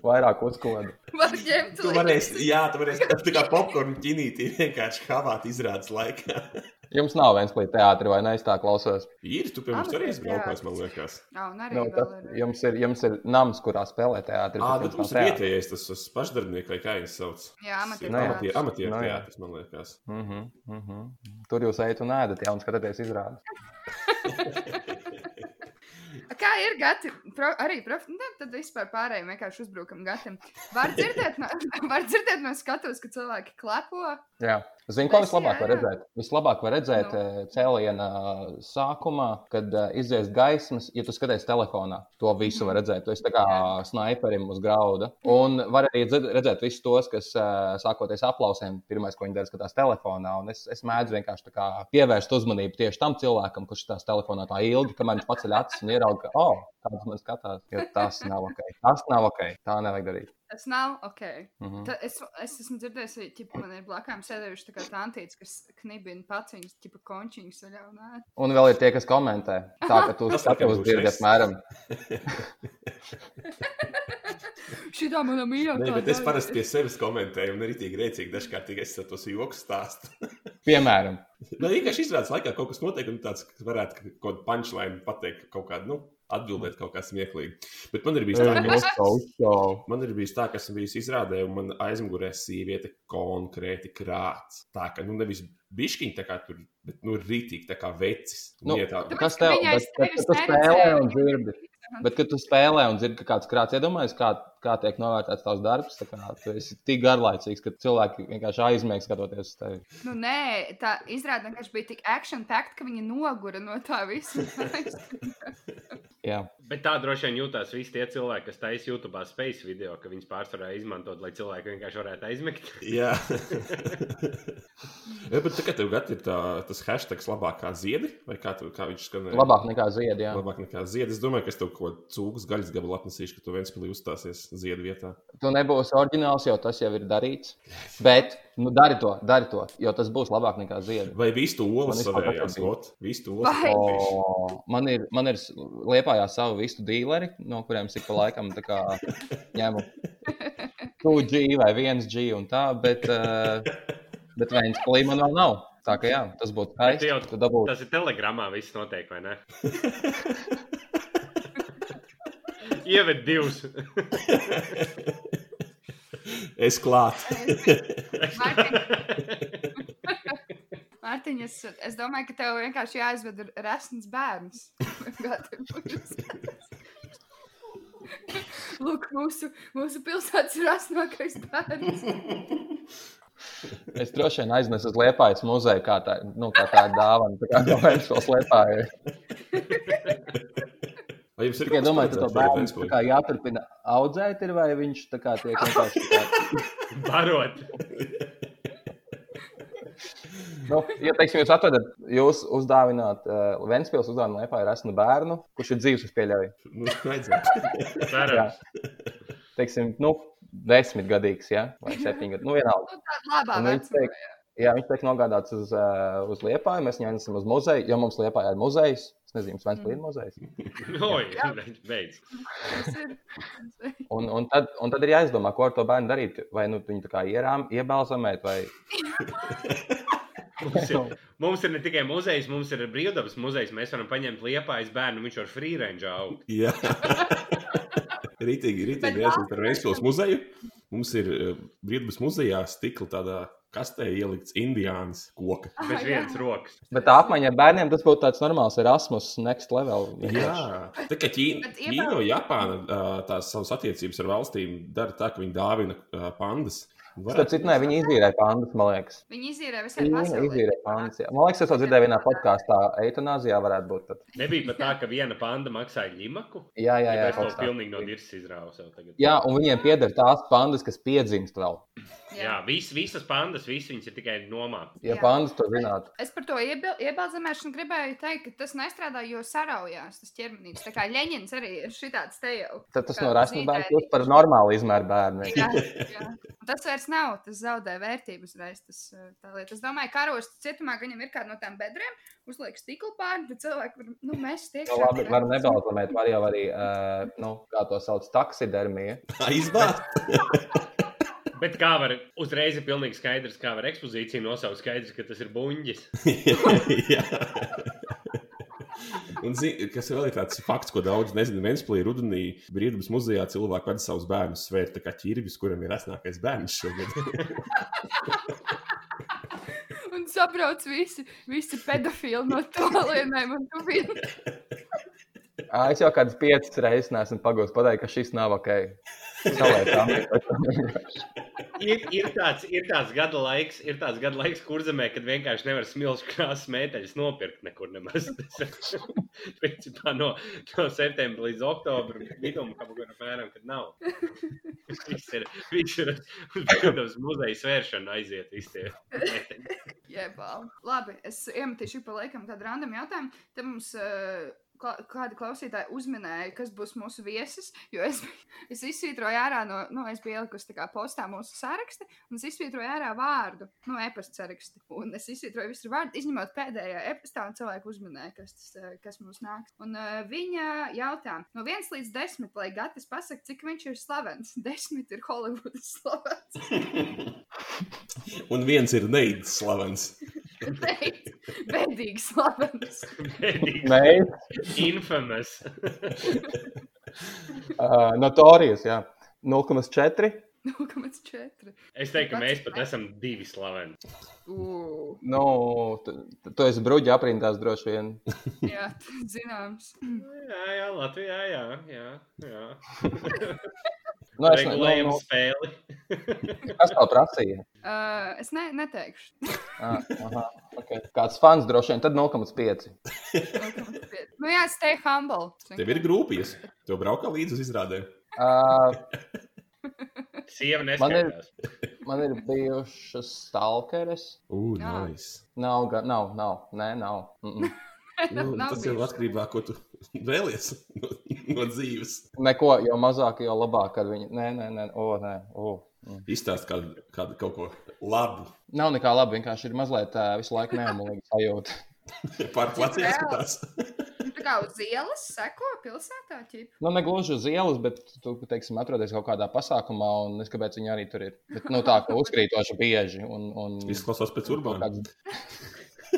C: Vairāk uzkodu.
A: Var ņemt
B: Tu varēsi, jā, tu varēsi tā kā popkornu ķinītī vienkārši havāt izrādes laikā.
C: Jums nav viens līdz teātrim, vai ne? Es tā klausos.
B: Ir, tu pie mums
A: Amatīrs
B: arī esi braukājis,
A: teātris.
B: man liekas.
A: Jā, un arī
C: Nu, tas,
A: vēl ir.
C: jums, ir, jums ir nams, kurā spēlē teātris.
B: Ā,
C: bet
B: bet
C: jums
B: mums
C: nav
B: ir
C: teātra.
B: vietējais, tas tas pašdarbnieks, vai kā viņš sauc.
A: Jā, amatieru
B: Nu
C: Nē.
A: teātris.
B: Amatieru
C: Nē.
B: teātris, man liekas.
C: Mhm, mhm. Tur jūs ejat un ēdat, jau skatāties izrādi.
A: Kā ir gati, pro, arī profi, ne, tad vispār pārējiem vienkārši uzbrukam gatam. Var dzirdēt no, var dzirdēt no skatuves, ka cilvēki klepo.
C: Jā. Zini, ko
A: Es-
C: vislabāk var
A: jā, jā.
C: redzēt? Vislabāk var redzēt
A: Nu.
C: no. cēliena eh, sākumā, kad eh, izies gaismas, ja tu skaties telefonā. To visu
A: Mhm.
C: var redzēt. Tu esi tā kā sniperim uz grauda. Un var arī dzed- redzēt visus tos, kas eh, sākoties aplausiem, pirmais, ko viņi dara, skatās telefonā. Un es, es mēdzu vienkārši tā kā pievērst uzmanību tieši tam cilvēkam, kurš tās telefonā tā ilgi, kamēr viņš paceļ acis un ieraudzīja, ka, oh, kāds man skatās. Jo tas nav ok. Tas nav ok. Tā nevajag darīt.
A: Tas nav ok.
C: Mhm.
A: Ta, es, es esmu dzirdējis, ka ķipa, man ir blakus sēdējuši tā kā tantīts, kas knibina paciņas, tipa končiņas vaļā. un ēd.
C: Un vēl ir tie, kas komentē. Tā kā tu
B: Tas laikam
C: skaties uz
B: būšu
C: dirbi
B: es.
C: apmēram.
A: Šitā mana mīļākā.
B: Nē, bet es
A: daļa.
B: parasti pie sevis komentēju, un arī tik rēcīgi dažkārt tikai es ar tos joku stāstu.
C: Piemēram,
B: Nē, vienkārši izrādās, laikā kaut kas notiek, un tāds ka varētu kaut kādu punchline pateikt, kaut kādu nu, atbildēt kaut kā smieklīgi. Bet man ir bijis tā, ka.
C: Moskavas
B: Man ir bijis tā, ka esmu bijis izrādē, un man aizmugurē sieviete konkrēti krāts. Tā kā, nu, nevis bišķiņa, tā kā tur, bet, nu, rītīgi, tā kā vecis.
C: Nu,
B: Nu, tā,
A: Tāpēc,
C: Kas
A: ka
C: tev?
A: viņai
C: Bet-
A: sevis
C: bet tu
A: neredzēja.
C: spēlē un dzirdi. Bet, kad tu spēlē un dzirdi, ka kāds krāts iedomājas, kā kā tiek novērtēts tavs darbs. tā Kā, tu esi tik garlaicīgs, ka cilvēki vienkārši aizmiegs skatoties uz tevi.
A: Nu, nē, tā izrādās, ka viņš bija tik action-packed, ka viņa nogura no tā visa.
C: Jā,
D: Bet tā droši vien jūtas visi tie cilvēki, kas taisa YouTube space video, ka viņas pārsvarā izmantot, lai cilvēki vienkārši varētu aizmigt.
B: Jā, Ja, bet tagad tev gat ir tā, tas hashtags labākā ziedi, vai kā, tu, kā viņš skanēja?
C: labāk nekā ziedi. Jā.
B: Labāk nekā ziedi. Es domāju, ka es tev kaut ko cūku gaļas gabalu atnesīšu, ka tu viens pilī uzstāsies ziedu vietā.
C: Tu nebūsi oriģināls, jo tas jau ir darīts. Bet, nu, dari to, dari to, jo tas būs labāk nekā ziedi.
B: Vai vistu olas
C: Man vispār
B: savējās,
C: patīk.
B: got? Vistu
A: Vai?
B: olas.
C: O, Oh, Man ir, man ir liepā jau savu vistu dīleri, no kuriem ik pa laikam tā kā ņemu 2G vai 1G un tā, bet, eh, bet viens plī man vēl nav. Tā kā jā, tas būtu
D: tu jau-
C: skaisti. Tu dabūtu.
D: Tas ir telegramā, viss notiek, vai ne? Ieved divus.
C: Oh.
B: Es klāt.
A: Mārtiņ, Mārtiņ, es, es domāju, ka tev vienkārši jāizved r- resns bērns. Kā tev būs? Lūk, mūsu, mūsu pilsētas rasnākais bērns.
C: Es droši vien aiznesu uz liepājas muzeju, kā tā, nu, kā tā ir dāvana. Tā kā jau es tos liepāju.
B: Vai jums ir kaut
C: Tikai
B: kas
C: domāju, ka to
B: paredzēts vēl
C: bērnu tā
B: Ventspilī?
C: kā jāturpina audzēt, ir, vai viņš tā kā tiek vienkārši. tā kā-
D: Barot.
C: Nu, ja teiksim, jūs atvedat, jūs uzdāvināt uh, Vēncpils, uzdāvināt Lietuvā ar esmu bērnu, kurš ir dzīves, es pieļauju.
B: Nu, redzēt.
D: Cerams.
C: Teiksim, nu, desmitgadīgs, ja? vai septiņgadīgs. Nu, vienalga.
A: Nu, tā labā
C: Un viņš
A: vecumā.
C: tiek, jā, viņš tiek nogādāts uz, uh, uz Lietuvā, mēs viņu aiznesam uz muzeju, jo mums Lietuvā ir muzejs. Es nezinu, kas Vēncpils ir muzejs.
D: Oi, beidz.
A: tas ir. tas ir-
C: Un, un, tad, un tad ir jāizdomā, ko ar to bērnu darīt. Vai nu viņu tā kā ierām, iebalzamēt, vai
D: Mums ir, mums ir ne tikai muzejs, mums ir brīvdabas muzejs. Mēs varam paņemt liepājas bērnu, viņš var free range augt.
B: Jā. Rītīgi,
A: Bet
B: rītīgi redzēt par Ventspils muzeju. Mums ir eh, Brīdbas muzejā stikla tādā kastē ielikts indiāns koka.
A: Ah,
D: Bez
A: jā.
D: vienas rokas.
C: Bet tā apmaiņa ar bērniem tas būtu tāds normāls Erasmus, next level.
B: Jā, tā kā Ķīna,
A: Bet iepār-
B: Ķīna un Japāna ā, tās savas attiecības ar valstīm dara tā, ka viņi dāvina ā, pandas.
C: Starp citu, nē, viņi izīrēja pandus, man liekas.
A: Viņi izīrē visai
C: Viņa
A: pasaulē.
C: izīrēja pandus. jā. Man liekas, es to dzirdēju vienā podkāstā. Eitanāzijā varētu būt. Tad.
D: Nebija pat tā, ka viena panda maksāja limaku.
C: Jā, jā, jā.
D: Jā, es to
C: kaut kā.
D: pilnīgi no dirses izrāvu sev tagad.
C: Jā, un viņiem pieder tās pandas, kas piedzimst vēl.
D: Jā, vis, visas pandas, visas viņas ir tikai nomāktas.
C: Ja
A: Jā.
C: pandas to zinātu,
A: Es par to iebil- iebalzamēšanu gribēju teikt, ka tas nestrādā, jo saraujās tas ķermenis. Tā kā Leņķins arī ir šitāds te jau.
C: tad tas
A: Kā
C: no rasnes bērna
A: zīdaiņi.
C: kļūst par normālu izmēru bērnu.
A: Jā, jā. Un Tas vairs nav, tas zaudē vērtību uzreiz. Tas, eh, tā lieta. es domāju, ka karos cietumā ka viņam ir kāda no tām bedrēm, uzliek stikla pāri, tad cilvēki var, nu, mēs tiek.
C: Nu, labi, var nebalzamēt, var jau arī, uh, nu, kā to sauc, taksidermija.
B: Aizbāzt.
D: Bet kā var uzreiz ir pilnīgi skaidrs, kā var ekspozīciju nosaukt, skaidrs, ka tas ir buļģis.
B: Jā. Un zini, kas vēl ir tāds fakts, ko daudz nezinu, Ventspīlī rudenī Brīdības muzejā cilvēki pēc savus bērnus svērt, tā kā ķirbis, kuram ir esnākais bērns šogad.
A: Un sabrauc visi, visi pedofili no tolienēm un tuvīm.
C: Ā, Es jau kādas piecas reizes neesmu pagūst pateikt, ka šis nav ok. Salētām.
D: Ir, ir, tāds, ir tāds gada laiks, ir tāds gada laiks, kur zemē, kad vienkārši nevar smilšu krāsas mēteļus nopirkt nekur nemaz. Tas ir principā no, no septembra līdz oktobra vidum, kaut kur apmēram, kad nav. Viss ir, viss ir uz muzeja svēršanu aiziet visi tie. mēteļi.
A: Jebal. Labi, es iemetīšu pa laikam kādu randam jautājumu. Te mums eh, klā- kādi klausītāji uzminēja, kas būs mūsu viesis, jo es, es izsvītroju ārā no, nu, es biju ielikusi tā kā postā mūsu sarakstu, un es izsvītroju ārā vārdu, nu, e-pasta sarakstu. Un es izsvītroju visu vārdu, izņemot pēdējā e-pastā, un cilvēku uzminēja, kas, tas, eh, kas mums nāks. Un eh, viņa jautā, no 1 līdz 10, lai Gatis pasaka, cik viņš ir slavens. 10 ir Hollywoods slavens.
B: Un viens ir neids slavens.
A: Neids, Bēdīgi slavens.
D: Bēdīgs,
C: Nē,
D: Infamous.
C: uh, notorijas, jā. 0,4.
A: 0,4.
D: Es teiktu, ka mēs pat esam divi slaveni.
A: Ū,
C: Nu, tu, tu- tu esi bruģi aprindās droši vien.
A: Jā, t- zināms.
D: Jā, jā, Latvijā, jā, jā. jā.
C: Nu, es ne-
D: regulējumu
C: nu,
D: spēli.
C: nu, kas tev prasīja?
A: Uh, es ne, neteikšu.
C: Ah, aha, okay. Kāds fans droši vien, tad 0,5.
A: nu, jā, stay humble.
B: Tev ir grūpijas. Tev braukā līdzi uz izrādēm.
C: Uh,
D: Sieva
C: Man ir-
D: neskaitās.
C: man ir bijušas stalkeres.
B: Ugh,
A: Jā.
B: nice.
C: Nav, gan- nav, nav, nē, nav. Mm -mm.
B: Nu,
A: Nav
B: tas jau
A: bijuši.
B: atkarībā no tā, ko tu vēlies no, no dzīves.
C: Neko, jo mazāk, jo labāk ar viņu. Nē, nē, nē, o, nē. O. Mm.
B: Izstāst kādu, kādu kaut ko labu.
C: Nav nekā laba, vienkārši ir mazliet uh, visu laiku neumolīga sajūta.
B: Par pleciem
A: Jā.
B: skatās.
A: Tā kā uz ielas seko pilsētā, ķip.
C: Nu, ne gluži uz ielas, bet tu, teiksim, atrodies kaut kādā pasākumā, un es kāpēc viņi arī tur ir. Bet, nu, tā kā uzkrītoši bieži. Un, un...
B: Izklausās pēc urbāna.
C: Kāds...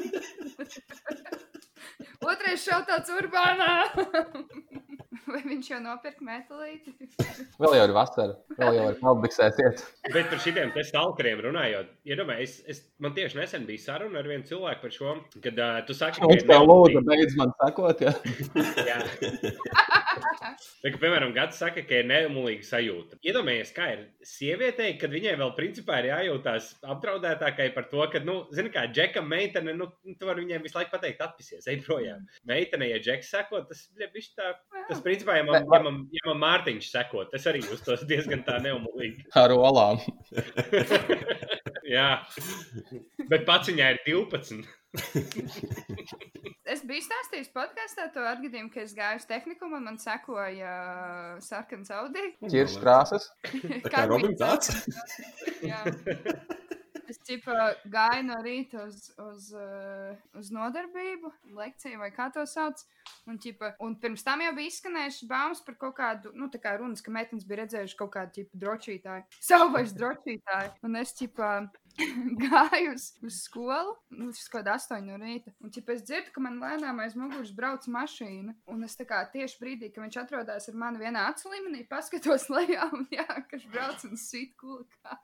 A: Otrais šautāts urbānā. Vai viņš jau nopirka metālīti?
C: Vēl jau ir vasara, vēl jau ir publicēties.
D: Bet par šiem stalkeriem runājot, iedomājieties, es, es, man tieši nesen bija saruna ar vienu cilvēku par šo, kad uh, tu saki, ka
C: Viņš
D: ir
C: tev
D: nelikumīgi.
C: lūdza, beidz man sakot, ja
D: Jā. Tā, kā, piemēram, Gatis saka, ka ir neumolīga sajūta. Iedomājieties, kā ir sievietei, kad viņai vēl principā ir jājūtās apdraudētākai par to, ka, nu, zini, kā džekam meitene, nu, tu vari viņiem visu laiku pateikt, atpisies, ej projām. Meitene, ja džeks seko, tas ir bijis tā. Tas, principā, ja man, ja man, ja man Mārtiņš seko, tas arī uztos diezgan tā neumolīgi.
C: ar olām.
D: Jā. Bet pats viņai ir 12.
A: Es biju stāstījis podkāstā to atgadījumu, ka es gāju uz tehniku un man sekoja uh, sarkans audī.
C: Čirš krāsas.
B: Tā kā Robins tāds.
A: Jā. Es tipa, gāju no rīta uz, uz, eh, uz nodarbību, lekciju vai kā to sauc. Un, tipa, un pirms tam jau bija izskanējušas baumas par kaut kādu, nu, tā kā runas, ka meitenes bija redzējušas kaut kādu tipu drošītāju, savvaļas drošītāju. Un es, tipā, gāju uz, uz skolu, nu, tas kaut kādā astoņu no rīta. Un, tipā, es dzirdu, ka man lēnām aiz muguras brauc mašīna. Un es tā kā tieši brīdī, kad viņš atrodas ar mani vienā acu līmenī, paskatos lejā un jā, kas brauc un sit kulakā.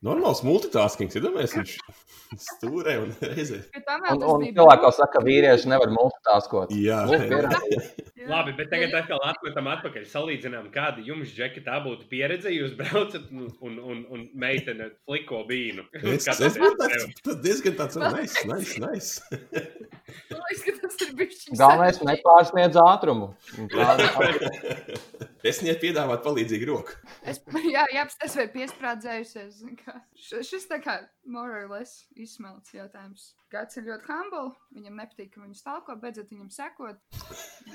B: Normāls multitaskings, iedomājies, viņš stūrē un reizē.
A: Bet tomēr
C: Un,
A: tas
C: un
A: bija
C: cilvēki jau saka, ka vīrieši nevar multitaskot. Nu,
B: Jā,
C: Lūk, pierādījums.
A: brīnums, jā.
D: Labi, bet tagad atkal atmetam atpakaļ. Salīdzinām, kāda jums, Džeki, tā būtu pieredze. Jūs braucat un, un, un, un meitene fliko bīnu.
B: es, es,
D: Skatāties
B: es man
D: sev.
B: tāds, tas diezgan tāds, oh, nice, nice, nice.
A: Man liekas, ka tas ir bijis
C: Galvenais nepārsniedz ātrumu. Un tā-
B: Es viņai piedāvātu palīdzīgu roku.
A: Es, jā, jā, tas ir piesprādzējusies. zin kā. Š- Šis tā kā more or less izsmelts jautājums. Gads ir ļoti humble. Viņam nepatīk, ka viņu stalko, beidzot viņam sekot.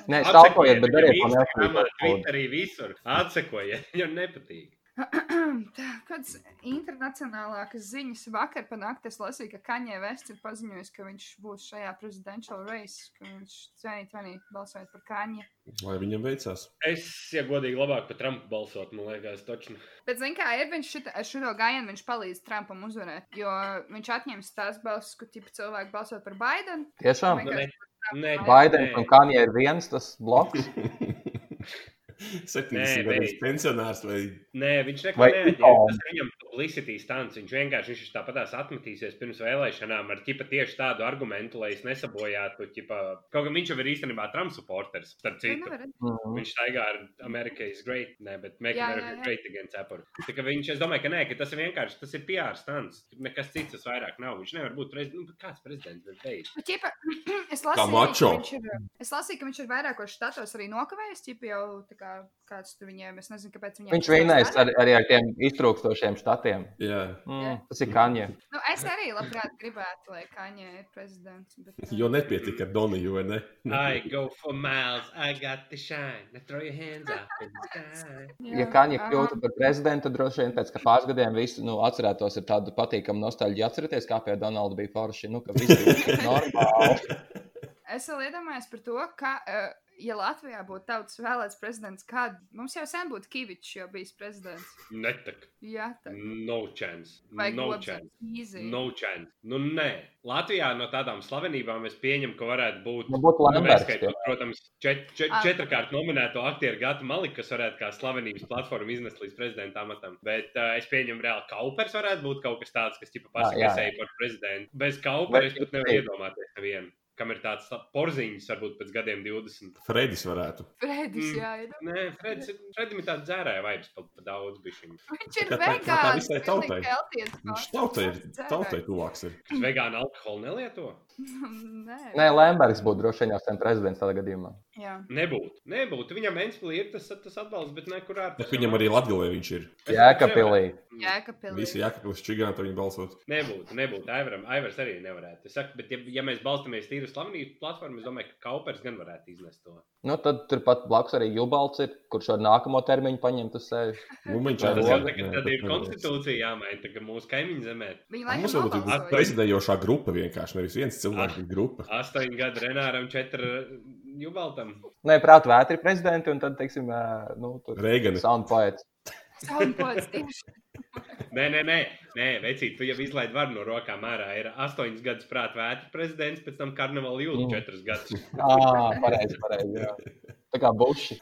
C: Nē,
D: Atsekojiet
C: stalkojiet, bet dariet to
D: viņam Instagramā,
C: neatkarīgi.
D: Twitterī visur. Atsekojiet, viņam nepatīk.
A: Tā, Kādas internacionālākas ziņas vakar pa nakti es lasīju, ka Kaņē Vests ir paziņojis, ka viņš būs šajā presidential race, ka viņš 2020 balsojot par Kaņē.
B: Lai viņam veicās.
D: Es, ja godīgi, labāk par Trumpu balsot, man liekas, točni.
A: Bet, zin kā, ir viņš šita, ar šo gājienu viņš palīdz Trumpam uzvarēt, jo viņš atņems tās balsis, kur tipa cilvēki balso par Baidenu.
C: Tiešām.
A: Oh
D: Nu, ne, ne,
C: Baidens
D: nē.
C: un Kanye ir viens tas bloks.
B: 70
D: Nē,
B: gadus
D: nē.
B: pensionārs vai
D: Nē, viņš neko
C: Vai
D: nereģē.
C: ikon?
D: Tas ir viņam publicity stunts. Viņš vienkārši viņš tāpatās atmetīsies pirms vēlēšanām ar ķipa, tieši tādu argumentu, lai es nesabojātu. Ķipa. Kaut gan viņš jau ir īstenībā Trump supporters, starp
A: Nu,
D: citu.
A: nevar redzēt.
C: Mm.
D: Viņš staigā ar America is great, ne, bet Make
A: Jā,
D: jā, America
A: jā,
D: jā,
A: jā.
D: jā. great again cepuru. Tā kā viņš, es domāju, ka nē, ka tas ir vienkārši, tas ir PR stants. Nekas cits tas vairāk nav. Viņš nevar būt prezidents, nu, kāds prezidents, bet beidz.
A: Nu, Ķipa, es lasīju,
B: mačo.
A: ka viņš ir, es lasīju, ka viņš ir vairākos štatos arī nokavējis. Ķipa, jau tā kā, kāds tur viņiem, es nezinu, kāpēc viņiem
C: Viņš
A: tas
C: vienais
A: tāds
C: ar, arī ar tiem iztrūkstošiem statiem.
B: jā,
C: Mm, tas ir Kanye.
A: ir. Nu, es arī labprāt gribētu, lai Kaņē ir prezidents. Bet, nu,
B: jo nepietika ar Doniju, vai ne?
D: I go for miles, I got the shine, I throw your hands up in the sky.
C: Ja Kanye kļūtu par prezidentu, tad droši vien pēc kā pāris gadiem visi nu, atcerētos ar tādu patīkamu nostalģiju. Atcerieties, kā pie Donalda bija forši. Nu, ka viss bija normāli.
A: Es vēl iedomājos par to, ka, eh, ja Latvijā būtu tautas vēlēts prezidents, kād mums jau sen būtu Kavičs jau bijis prezidents.
D: Netak,
A: Jā, tā
D: no chance,
A: vai
D: no chance.
A: Gobsēns.
D: No chance. Nu, nē, Latvijā no tādām slavenībām es pieņemu, ka varētu būt.
C: Nu, būtu
D: Nu,
C: Lamberts.
D: neskaitot, Protams, čet, čet,
A: Ah.
D: četrkārt nominēto aktieru Gatu Maliku, kas varētu kā slavenības platforma iznest līdz prezidenta amatam. Bet uh, es pieņemu, reāli Kaupers varētu būt kaut kas tāds, kas tipa
C: jā,
D: pasakās
C: jā.
D: eju par prezidentu. Bez Kaupera
C: Vai-
D: es pat nevaru iedomāties nevienu. kam ir tāds tā, porziņš, varbūt pēc gadiem 20.
B: Fredis varētu.
A: Fredis,
D: Mm.
A: jā, ir.
D: Nē, Fredis, ir- Fredim ir tāds dzērāja vibes pa, pa daudz bišķiņu.
A: nu, Viņš ir
B: Tā- tā- tā
A: vegāns.
B: visai
A: pilnīgi
B: tautai.
A: kelties
B: Viņš
A: pārstāvs,
B: tautai ir
A: dzērājs.
B: tautai tuvāks. Ir.
D: Kas vegānu alkoholu nelieto?
A: Nē,
C: Nē, Lembergs būtu droši vien jau sen prezidents tādā gadījumā.
A: jā.
D: Nebūtu. Nebūtu. Viņam Enspīlī ir tas, tas atbalsts, bet nekur ārpus.
B: Bet viņam arī Latvijā viņš ir.
C: Jēkabpilī.
A: Jā,
B: Visi
A: kapelīte.
B: jākapils čigāni, tad viņi balsot.
D: Nebūtu, nebūtu. Aivaram, Aivars arī nevarētu. Es saku, bet, ja, ja mēs balstāmies tīri uz slavenību platformu, es domāju, ka Kaupers gan varētu iznest to.
C: Nu, tad turpat blakus arī Jubalts ir, kurš ar nākamo termiņu eh, paņemt uz sevi.
B: Nu, viņš
D: Tas
C: Tas
D: jau
C: jau
D: tagad tad ir konstitūcija jāmaina, tagad mūsu kaimiņu zemē.
A: Viņa
B: Mums
A: laikam
B: varbūt ir
A: nobalsoja.
B: prezidējošā grupa vienkārši, nevis viens cilvēks, bet grupa.
D: Astoņi gadi Renāram, četri Jubaltam.
C: Nē, prāt, vētri prezidenti, un tad, teiksim, ē, nu, tur
B: Reigani.
C: sound poets.
A: Soundboards tieši.
D: Nē, nē, nē, nē vecīt, tu jau izlaid varu no rokām ārā. Ir astoņas gadus prāt vētra prezidents, pēc tam karnevāla jūta
C: Mm.
D: četrus gadus.
C: Ā, pareizi, pareizi, jā. Tā kā buši.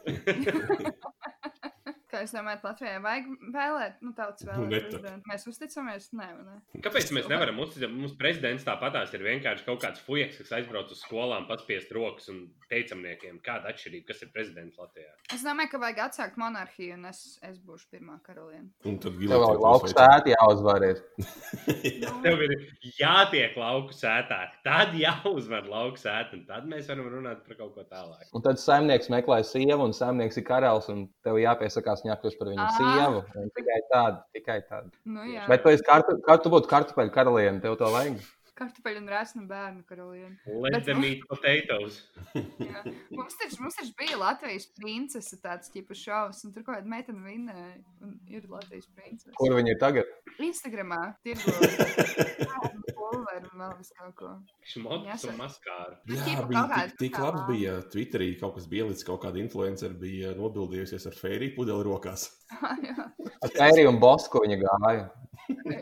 A: Kā es domāju, Latvijai vajag vēlēt, nu, tautas
B: Nu, ne
A: vēlēt.
B: tad.
A: prezidentu. Mēs uzticamies, nē, vai ne.
D: Kāpēc mēs nevaram uzticēt? Mums prezidents tāpatās ir vienkārši kaut kāds fujaks, kas aizbrauc uz skolām, paspiest rokas un teicamniekiem, kāda atšķirība, kas ir prezidents Latvijā.
A: Es domāju, ka vajag atsākt monarhiju, un es, es būšu pirmā karaliene.
B: Un tad
C: Tev vēl
B: Gilets
C: lauks ēti jāuzvar ir.
A: Nu,
D: Tev ir jātiek lauku sētā, tad jāuzvar lauku sēta, un tad mēs varam runāt par kaut ko tālāk.
C: Un tad saimnieks meklē sievu, un saimnieks ir karalis, un tev jāpiesakās viņa kļūst par viņu
A: Ah.
C: sievu. Un Tikai tādu, tikai tādu.
A: Nu, jā,
C: Bet tu, esi kartu, kā tu būtu kartupeļu karaliene, tev to vajag.
A: kartupeļu un rēsnu bērnu karaliene.
D: Let them eat potatoes.
A: Jā. Mums taču, mums taču bija Latvijas princese tāds tipu šovs, un tur kaut kāda meitene vinnēja, un ir Latvijas princese.
C: Kur viņi ir tagad?
A: Instagramā tirgo bērnu pulveru un vēl visu kaut ko.
D: Šmots
A: Jāsaka.
D: un maskāra.
A: Nu,
B: Jā,
A: tipa
B: bija
A: kaut kāda
B: tik, tik
A: tā
B: labs.
A: lā-
B: Bija Twitterī kaut kas bielicis, kaut kāda influencer bija nobildījusies ar fēriju pudeli rokās.
A: jā,
C: Ar Pēriju un Bosku viņa gāja.
A: jā, jā,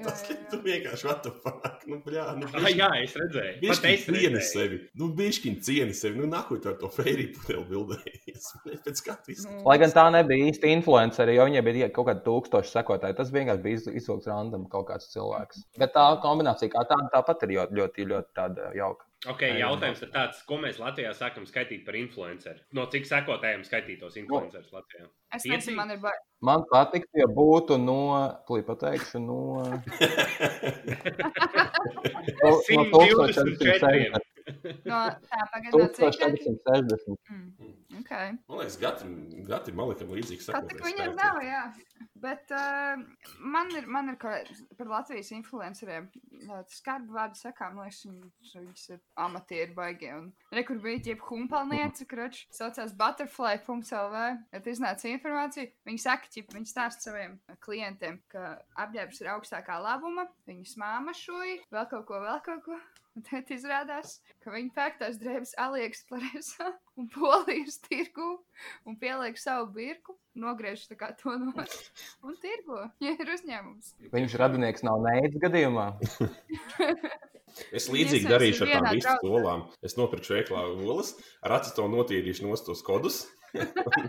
B: Tas
A: jā.
B: tur vienkārši atapāk. Nu, bļā, nu,
D: Ah, jā, es redzēju. Pat
B: Bišķiņ
D: es
B: cieni
D: redzēju.
B: sevi. Nu, bišķiņ cieni sevi. Nu, nākuj tu ar to fēriju pudeli bildējies. Pēc katras.
A: Nu,
C: Lai gan tā nebija īsti influenceri, jo viņai bija kaut kāda tūkstoša sekotāja. Tas vienkārši bija iz- izvilkts randam kaut kāds cilvēks. Bet tā kombinācija kā tāda tāpat ir ļoti, ļoti, ļoti tāda jauka.
D: Ok, jautājums ir tāds, ko mēs Latvijā sākam skaitīt par influenceru? No cik sekotājiem skaitītos influenceris Latvijā?
A: Es nezinu, man ir bail.
C: Man patīk, ja būtu no, klūč, pateikšu, no, no, no
D: 124.
C: 1460.
A: No, tā pagaidām cik.
C: 1460.
A: Mm. Okay.
B: Man liekas, Gatam, Gatam Malikam līdzīgs.
A: Tā
B: sakotājs
A: kā viņiem
B: spēlētājs.
A: nav, jā. Bet uh, man ir, man ir kaut kā par Latvijas influenceriem. Skarbi vārdi sakām, man liekas, viņ- viņas ir amatieri baigie. Un re, kur bija tie humpalnieci, kurš saucās butterfly.lv. Tad iznāca informācija. Viņi saka, ka viņi stāsta saviem klientiem, ka apģērbs ir augstākā labuma, viņas māma šoja, vēl kaut ko, vēl kaut ko. Un tad izrādās, ka viņi pērk tās drēbes Aliexpresā un Polijas tirgū un pieliek savu birku, nogriež tā kā to no un tirgo. Ja ir uzņēmums,
C: Viņš radinieks nav neicis gadījumā.
B: Es
A: Viņi
B: līdzīgi
A: iesaistīs
B: darīšu ar tām
A: vienā
B: visām
A: draudzē.
B: skolām. Es nopirkšu veiklā olas, ar acis to notīrīšu no tos kodus,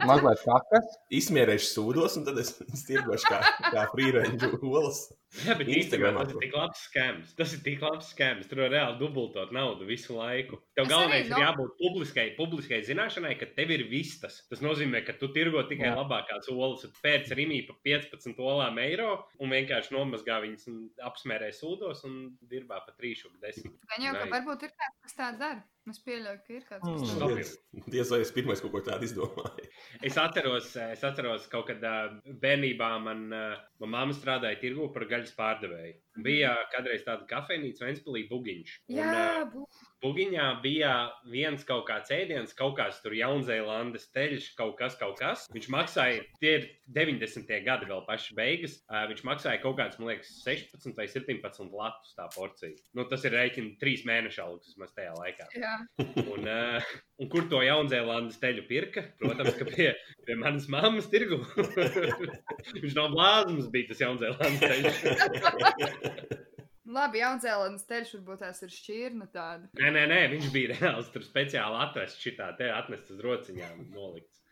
C: Mazliet kakas.
B: izsmierēšu sūdos, un tad es stirgošu kā, kā frīreņģu olas.
D: Jā, bet
B: Instagramā
D: īstenībā tas ir
B: to.
D: tik labs skams. Tas ir tik labs skams. Tur var reāli dubultot naudu visu laiku. Tev
A: Es
D: galvenais
A: arī
D: ir
A: dom-
D: jābūt publiskai, publiskai zināšanai, ka tev ir vistas. Tas nozīmē, ka tu tirgo tikai
C: Jā.
D: labākās olas, un pēc rīmī pa 15 olām eiro un vienkārši nomazgā viņas un apsmērē sūdos un dirbā pa 3,10.
A: gan jau, ka
D: Nice.
A: varbūt ir kāds, kas tā dara. Es pieļauju, ka ir kāds,
B: Hmm.
A: kas
C: Mm.
A: tā dara.
B: Diez diez vai es pirmais kaut ko tādu izdomāju.
D: Es atceros, eh, es atceros kaut kad ā, bērnībā manā mamā strādāja tirgu par gaļas pārdevēju. Bija kādreiz tāda kafejnīca, Vēnspilī, Bugiņš. Un,
A: Jā,
D: ā,
A: būs.
D: Bugiņā bija viens kaut kāds ēdiens, kaut kāds tur Jaunzēlandes teļš, kaut kas, kaut kas. Viņš maksāja, tie ir 90. gadi vēl paši beigas. Ā, Viņš maksāja kaut kāds, man liekas, 16 vai 17 latus tā porcija. Nu, tas ir rēķina trīs mēnešu algas vismaz tajā laikā.
A: Jā,
D: Un, ā, un kur to Jaunzēlandes teļu pirka? Protams, ka pie, pie manas mammas tirgu. Viņš nav blāzums, bija tas Jaunzēlandes teļš.
A: labi, Jaunzēlandes teļš varbūt tās ir šķirna tāda.
D: Nē, nē, nē, viņš bija reāls. Tur speciāli atvests šitā te atnest uz rociņām, nolikts.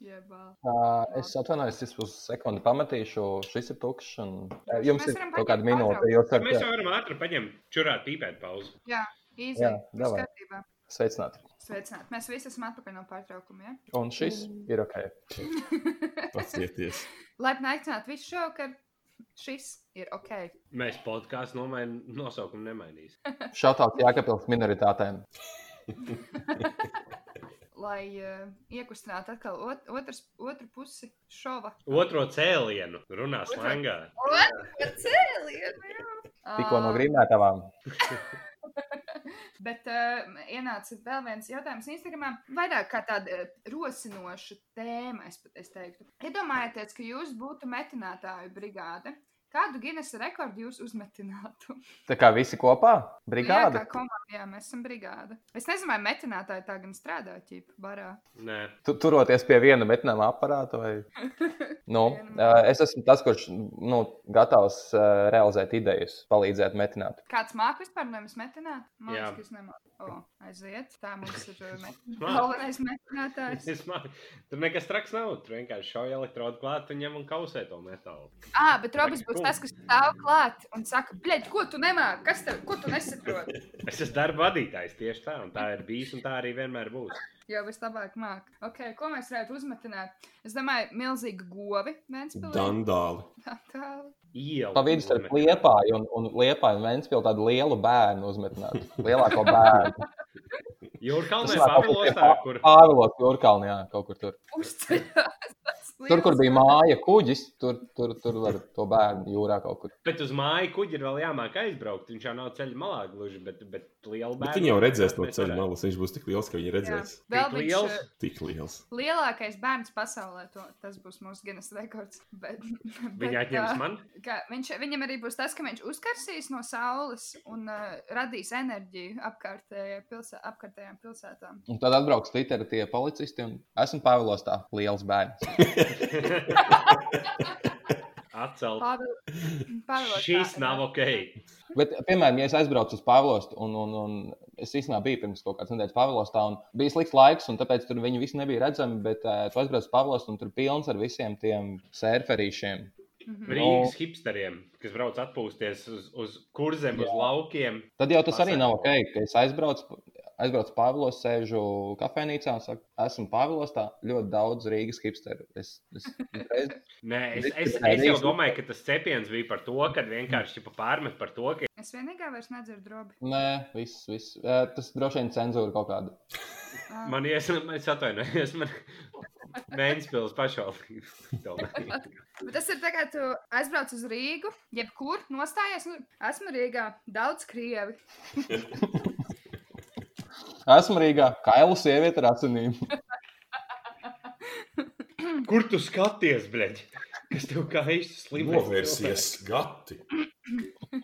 A: Jebā.
C: Uh, es atvainojos, es uz sekundi pametīšu. Šis ir tukšs. Un... Ē, Jums
A: Mēs
C: ir
A: varam
C: kaut kāda
A: paņemt
C: minūte.
A: pārtraukumu.
C: Jūs
D: Mēs jau
C: varat
D: varam ātri paņemt čurāt pīpēt pauzi.
A: Jā, īsi.
C: Jā, davai.
A: Skatībā.
C: Sveicināti.
A: Sveicināti. Mēs visi esam atpakaļ no pārtraukumiem. Ja?
C: Un šis ir ok.
B: Pacieties.
A: Laipni aicināti visu šovakar. Šis ir ok.
D: Mēs podkāstu nomain... nosaukumu nemainīsim.
C: Šādi jākapils minoritātēm.
A: Lai uh, iekustinātu atkal ot otrs, otru pusi šova.
D: Otro cēlienu runā slangā.
C: Tikko
A: Ah.
C: no grīmētavām.
A: Bet uh, ienāca vēl viens jautājums Instagramā. Vairāk kā tāda eh, rosinoša tēma, es pat es teiktu. Iedomājieties, ka jūs būtu metinātāju brigāde. Kādu Guinness rekordu jūs uzmetinātu?
C: Tā kā visi kopā?
A: Jā,
C: Brigāde.
A: kā komanda, jā, mēs esam brigāde. Es nezinu, vai metinātāji tā gan strādā ķīpa barā.
D: Nē,
C: Tu, turoties pie viena metināma aparāta, vai? Nu, eh, es esmu tas, kurš nu, gatavs eh, realizēt idejas, palīdzēt metināt.
A: Kāds mākslinieks vispār no jums metināt? Man
D: Jā.
A: liekas, ka es nemāku. O, aiziet, tā mums ir uh, met-
D: Māc.
A: galvenais metinātājs.
D: es māku. Tur nekas traks nav. Tur vienkārši šauja elektrodu klāt un ņem un kausē to metālu.
A: Ah, bet Robis
D: Tagad
A: būs
D: tu.
A: tas, kas stāv klāt un saka, blēģ, ko tu nemāki, kas tev, ko tu nesaproti.
D: Es esmu darba vadītājs tieši tā, un tā ir bijis, un tā arī vienmēr būs.
A: Jo vislabāk māk. Ok, ko mēs varētu uzmetināt? Es domāju, milzīgi govi. Ventspilī.
B: Dandāli.
A: Tā, tā.
D: Ielu.
C: Pa vidu starp
D: uzmet.
C: liepāju un, un liepāju un Ventspilu tādu lielu bērnu uzmetināt. Lielāko bērnu.
D: Jūrkalnē
C: Tas var kaut kur pie
D: Pāvilos tā,
C: Pā-
D: kur
C: Pāvilos Jūrkalnē, jā, kaut kur tur.
A: Uzceļās. tas
C: Tur, kur
A: liels.
C: bija māja, kuģis, tur, tur, tur var to bērnu jūrā kaut kur.
D: Bet uz māju kuģi ir vēl jāmāk aizbraukt. Viņš jau nav ceļa malā gluži, bet, bet liela
B: Bet
D: bērna.
B: viņi jau redzēs no ceļa malas. Viņš būs tik liels, ka viņi
A: Jā.
B: redzēs.
A: Vēl
D: Tik
A: viņš,
D: liels.
A: uh,
B: Tik liels.
A: lielākais bērns pasaulē. To, tas būs mūsu Guinness rekords. Bet, bet, uh,
D: Viņa atņems man.
A: Kā, viņš, viņam arī būs tas, ka viņš uzkarsīs no saules un uh, radīs enerģiju apkārtējai pilsē, apkārtējām pilsētām.
C: Un tad atbrauks Twitter tie policisti un esmu Pāvilos tā liels bērns.
D: Atcelt.
A: Pāvils. Pāvils
D: Šis nav ok.
C: Bet, piemēram, ja es aizbraucu uz Pāvilostu un, un, un es īstenībā biju pirms kaut kādas nedēļas Pāvilostā un bija slikts laiks, un tāpēc tur viņi visi nebija redzami, bet uh, tu aizbrauc uz Pāvilostu un tur pilns ar visiem tiem sērferīšiem.
A: Mhm.
D: Rīgas hipsteriem, kas brauc atpūsties uz, uz kurzem, uz laukiem.
C: Tad jau tas arī
D: Pasaka.
C: nav ok, ka es aizbraucu, aizbraucu Pāvilos, sēžu kafejnīcā un saku, esmu Pāvilos, tā ļoti daudz Rīgas hipsteru. Es, es, es,
D: Nē, es, es,
C: Rīgas-
D: es jau domāju, ka tas cepiens bija par to, ka vienkārši čipa pārmet par to, ka,
A: Es vienīgā vairs nedzirdu drobi.
C: nē, viss, viss. Eh, Tas droši vien cenzūra kaut kāda.
A: Ah,
D: man ies, man es atvainojos, man Ventspils pašvaldības. domāju.
A: bet Tas ir tā kā tu aizbrauc uz Rīgu, jebkur nostājies. Nu, esmu Rīgā, daudz krievi.
C: Esmu Rīgā, kailu sieviete ar asinīm.
D: Kur tu skaties, bleģ? Kas tev kā īsti slimība?
B: Novērsies skati.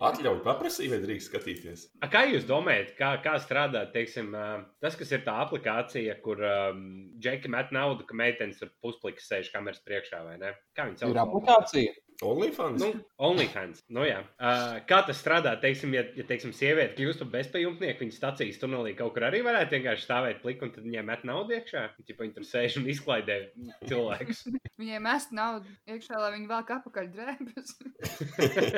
B: Atļauj paprasīt, vai drīkst skatīties.
D: A, Kā jūs domājat, kā, kā strādā teiksim, ā, tas, kas ir tā aplikācija, kur um, džeki met naudu, ka meitenes ar pusplikas sēž kameras priekšā vai ne? Kā viņi sauc?
C: Ir aplikācija.
B: OnlyFans?
D: Nu, OnlyFans. Nu, jā. uh, kā tas strādā, teiksim, ja, ja teiksim, sieviete kļūst par bezpajumtnieku, viņas stācijas tunelī kaut kur arī varētu vienkārši stāvēt plik un tad viņai met naudu iekšā. Tipa, viņi tur sēž un izklaidē cilvēkus.
A: Viņiem mest naudu iekšā, lai viņi velk apakaļ drēbes.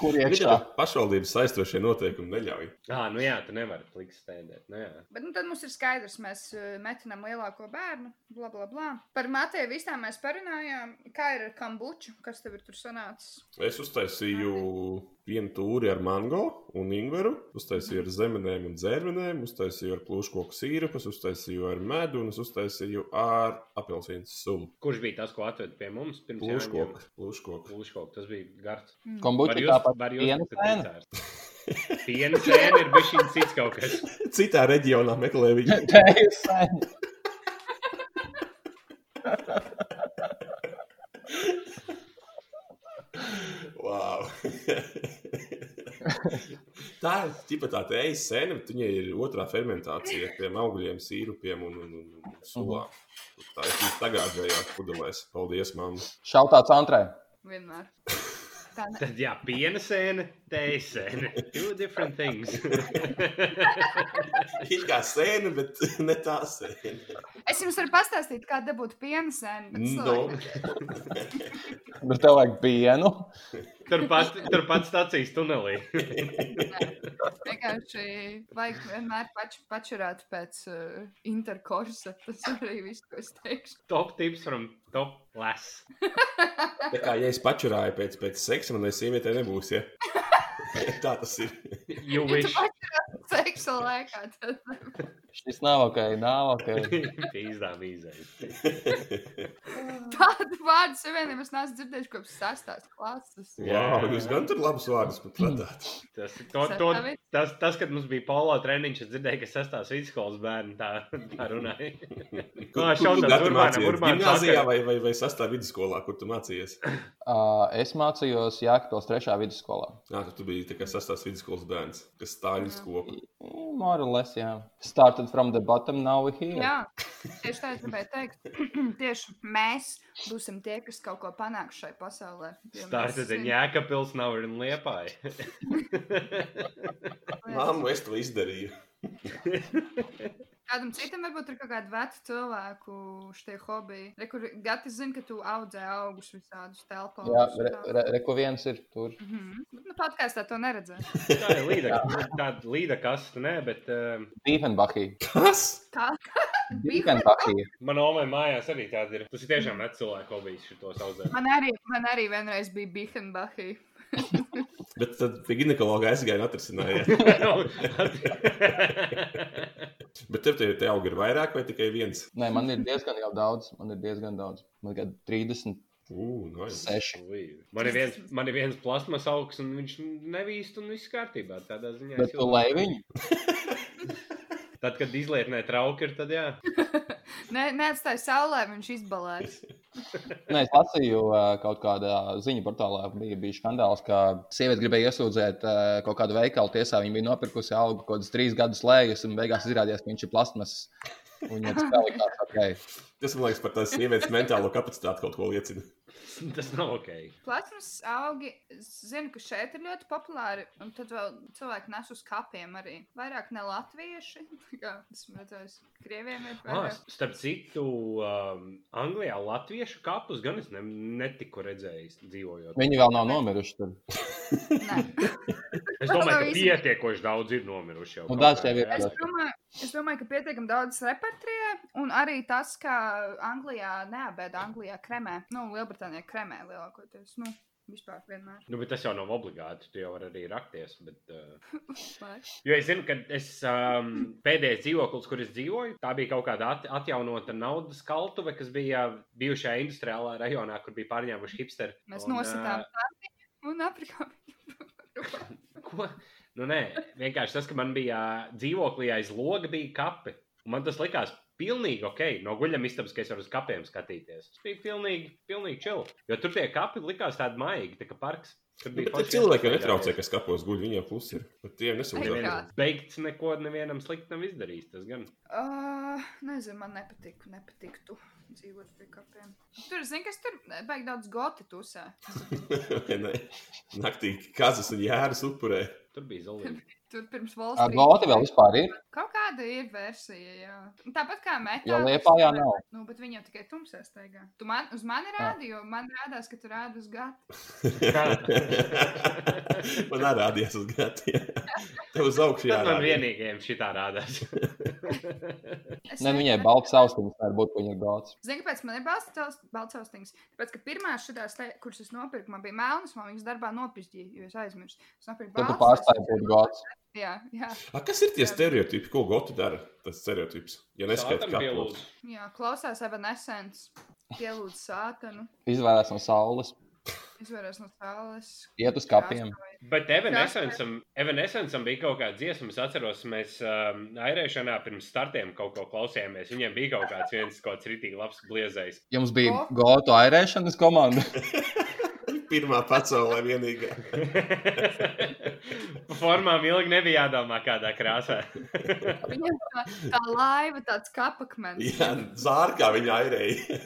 C: Kur iekšā?
B: Viņam pašvaldības saistošie noteikumi neļauj.
D: ah, nu jā, tu nevari pliks stēdēt. Nu, jā.
A: Bet nu, tad mums ir skaidrs, mēs eh, metinām lielāko bērnu, bla, bla, bla. Par Mateju visām mēs parunājām, kā ir ar kombuču, kas tev ir tur sanācis.
B: Es uztaisīju vienu tūri ar mango un ingveru, uztaisīju ar zemenēm un dzērvenēm, uztaisīju ar plūškoku sīrupus, uztaisīju ar medu un es uztaisīju ar apelsīnu sulu.
D: Kurš bija tas, ko atved pie mums pirms
B: Plūškoku. plūškoku.
D: Plūškoku. Tas bija garš.
C: Kombuča
D: Var
C: ir
D: jūs-
C: tāpat
D: var jūs
C: viena
D: pateikt,
C: cena.
D: Ārsts? Piena sēne ir bijis šis cits kaut kas.
B: Citā reģionā meklēju viņu.
C: Tējas sēna.
B: Wow. tā ir tipa tā līnija, sēne, bet viņai ir otrā fermentācija ar tiem augļiem, sīrupiem un, un, un, un sulām. Tā ir tikai tagad, pudelēs. Paldies, mamma.
C: Šautāts Antrē.
A: Vienmēr. Tā ne...
D: Tad jā, piena sēne, tējas sēne. Two different things.
B: Ir kā sēne, bet ne tā sēne.
A: Es jums varu pastāstīt, kā
B: Nu, Mm,
A: dabūt piena sēnu. bet
B: No.
A: cilvēki-
C: Bet tev vajag pienu.
D: Turpat, turpat stācijas tunelī.
A: Vienkārši vajag vienmēr pač, pačurāt pēc uh, interkursa. Tas arī viss, ko es teikšu.
D: Top tips from top less.
B: Tā kā ja es pačurāju pēc, pēc seksa, manai sievietei nebūs. Ja? Tā tas ir.
A: Ja
D: You
A: tu
D: wish.
A: pačurāt seksa laikā, tad
C: Šis nav ok, nav ok.
D: Pīzdā mīzē.
A: tādu vārdu savienību es neesmu dzirdējuši kopš sastās klases.
B: Wow, jūs gan tur labus vārdus pat radāt.
D: Tas, to, to,
A: Sastāvi?
D: tas, tas, kad mums bija polo treniņš, es dzirdēju, ka sastāv vidusskolas bērni tā, tā runāja.
B: Kur,
D: Ā,
B: kur
D: šautavs
B: tu gati
D: Urbānam,
B: mācījies?
D: Urbāns
B: Gimnāzijā
D: vakar.
B: vai, vai, vai sastāv vidusskolā, kur tu mācījies?
C: Uh, es mācījos Jākapils 3. vidusskolā.
B: Jā, tu biji tā kā sastāvs vidusskolas bērns, kas stāv vidusskola.
C: Mm, Morales, jā. Started from the bottom, now we here.
A: Jā, tieši tā es gribēju teikt. tieši mēs būsim tie, kas kaut ko panāks šai pasaulē. jo mēs
D: Stāsts ir
A: zinām,
D: Jāka pils nav un liepāja.
A: lietas.
B: Māmu, es to izdarīju.
A: Kādam citam varbūt ir kaut kāda veca cilvēku šie hobiji. Re, Kur gati zina, ka tu audzē augus visādus telpos.
C: Jā, re, re, re, ko viens ir tur.
A: Mhm. Nu, Podkāstā to neredzēju.
D: Tā ir līda, tāda līda kasta, nē, bet um,
C: Dīvenbachī.
B: Kas?
C: Dīvenbachī.
D: man omai mājās arī tāda ir. Tas ir tiešām vecs cilvēku hobijs šitos audzēt.
A: Man arī, man arī vienreiz bija Bihenbachi.
B: Bet tad pie ginekologa aizgāja un atrisinājās.
D: Nu,
B: Bet tev tie te augi ir vairāk vai tikai viens?
C: Nē, man ir diezgan jau daudz. Man ir diezgan daudz. Man ir 36.
B: Ū, nu, nice.
D: man, ir viens, man ir viens plasmas augs, un viņš nevīst, un viss kārtībā. Tādā ziņā. es
C: Bet tu
D: jūtu-
C: lai viņu.
D: Tad, kad izlietnē trauki ir, tad jā.
A: Ne, neatstāj saulē, viņš izbalēs.
C: Nē, Nu, es lasīju ā, kaut kādā ziņu portālā, bija, bija skandāls, ka sieviete gribēja iesūdzēt ā, kaut kādu veikalu tiesā. Viņa bija nopirkusi algu kaut kādus trīs gadus lējus, un beigās izrādījās, ka viņš ir plasmasas. Un Viņa tas tā likās, okay.
B: Tas man liekas par tās sievietes mentālo kapacitāti kaut ko liecina.
D: Tas nav ok.
A: Plasmas augi, es zinu, ka šeit ir ļoti populāri. Un tad vēl cilvēki nes uz kapiem arī. Vairāk ne latvieši, kā esmu redzējis, krieviem ir
D: Ah,
A: vairāk.
D: starp citu, um, Anglijā latviešu kapus gan es ne, netiku redzējis dzīvojot.
C: Viņi vēl nav nomiruši. Tad.
A: Nē.
D: Es domāju, ka
A: Labi.
D: pietiekoši daudz ir nomiruši jau.
C: Nu,
D: kaut
C: daži
D: kā,
C: jau ir.
D: jā.
A: Es domāju, es domāju, ka pietiekami daudz repatrijē, un arī tas, ka Anglijā neabēda Anglijā kremē. Nu, Lielbritānijā kremē lielākoties. Nu, vispār vienmēr.
D: Nu, bet tas jau nav obligāti. Tu jau vari arī rakties. Bet, uh...
A: Vai?
D: Jo es zinu, ka es, um, pēdējais dzīvoklis, kur es dzīvoju, tā bija kaut kāda at atjaunota naudas kaltuve, kas bija bijušajā industriālā rajonā, kur bija pārņēmuši hipsteri.
A: Mēs
D: Un,
A: nositām tādu un aprikām.
D: Ko? Nu, nē, vienkārši tas, ka man bija ā, dzīvoklī aiz loga, bija kapi. Un man tas likās pilnīgi ok. No guļamistabas, ka es varu uz kapiem skatīties. Tas bija pilnīgi, pilnīgi čili. Jo tur tie kapi likās tādi maigi, tā kā parks. Tur
B: Nu, Bet
D: forši
B: cilvēkiem
D: iespējas.
B: netraucē, kas kapos guļ, viņiem plus ir. Bet tie nesūdzē.
A: Ai,
D: Neviens Beigts neko nevienam slikti nav izdarījis. Tas gan
A: Uh, nezinu, man nepatīk, nepatiktu dzīvot pie kapiem. Tur, zini, kas tur beigas daudz goti tusē.
B: Nē, Naktī kazas un jēras upurē.
D: tur bija zelīts.
A: Tur pirms valsts.
C: Ā, Gauti vēl vispār ir.
A: Kaut kāda ir versija, jā. Tāpat kā metā.
C: Jo Liepājā nav.
A: Nu, bet viņi jau tikai tumsē staigā. Tu man, uz mani rādi, jo man rādās, ka tu rādi uz gatu.
B: Man arī rādījās uz gatiem. Tev uz augšu
D: Tas man
B: jārāda.
D: vienīgajam šitā rādās.
A: Es
C: Ne, viņai
A: nezinu,
C: balts austiņas var būt, ka viņa ir gauts.
A: Zini, kāpēc man ir balsojums? Tāpēc, ka pirmā šāda slēde, kuras es nopirku, man bija melnas, man viņas darbā nopišķīja, jo es aizmirsu. Es nopirku
C: Tad tu
A: baltas,
C: pārstāji būt gauts.
A: es- Jā, jā,
B: A, kas ir tie stereotipi, ko Gauti dara? Tas stereotips. Ja neskaidrs,
D: Sātam
B: kā
D: pielūdzu.
A: jā, klausās Evanescence, pielūdz sātanu,
C: Izvairās no saules,
A: izvērās no sāles.
C: iet uz kapiem.
D: Bet Evanescencam Evanescencam bija kaut kāda dziesma, es atceros, mēs um, airēšanā pirms startiem kaut ko klausījāmies. Viņiem bija kaut kāds viens kaut kāds rītīgi labs bliezējs.
C: Jums bija gautu airēšanas komanda.
B: Pirmā pasaulē vienīgā.
D: Pa Formām ilgi nebija jādomā kādā krāsā.
A: Viņam tā, tā laiva, tāds kapakmens.
B: Jā, zārkā viņa airēja.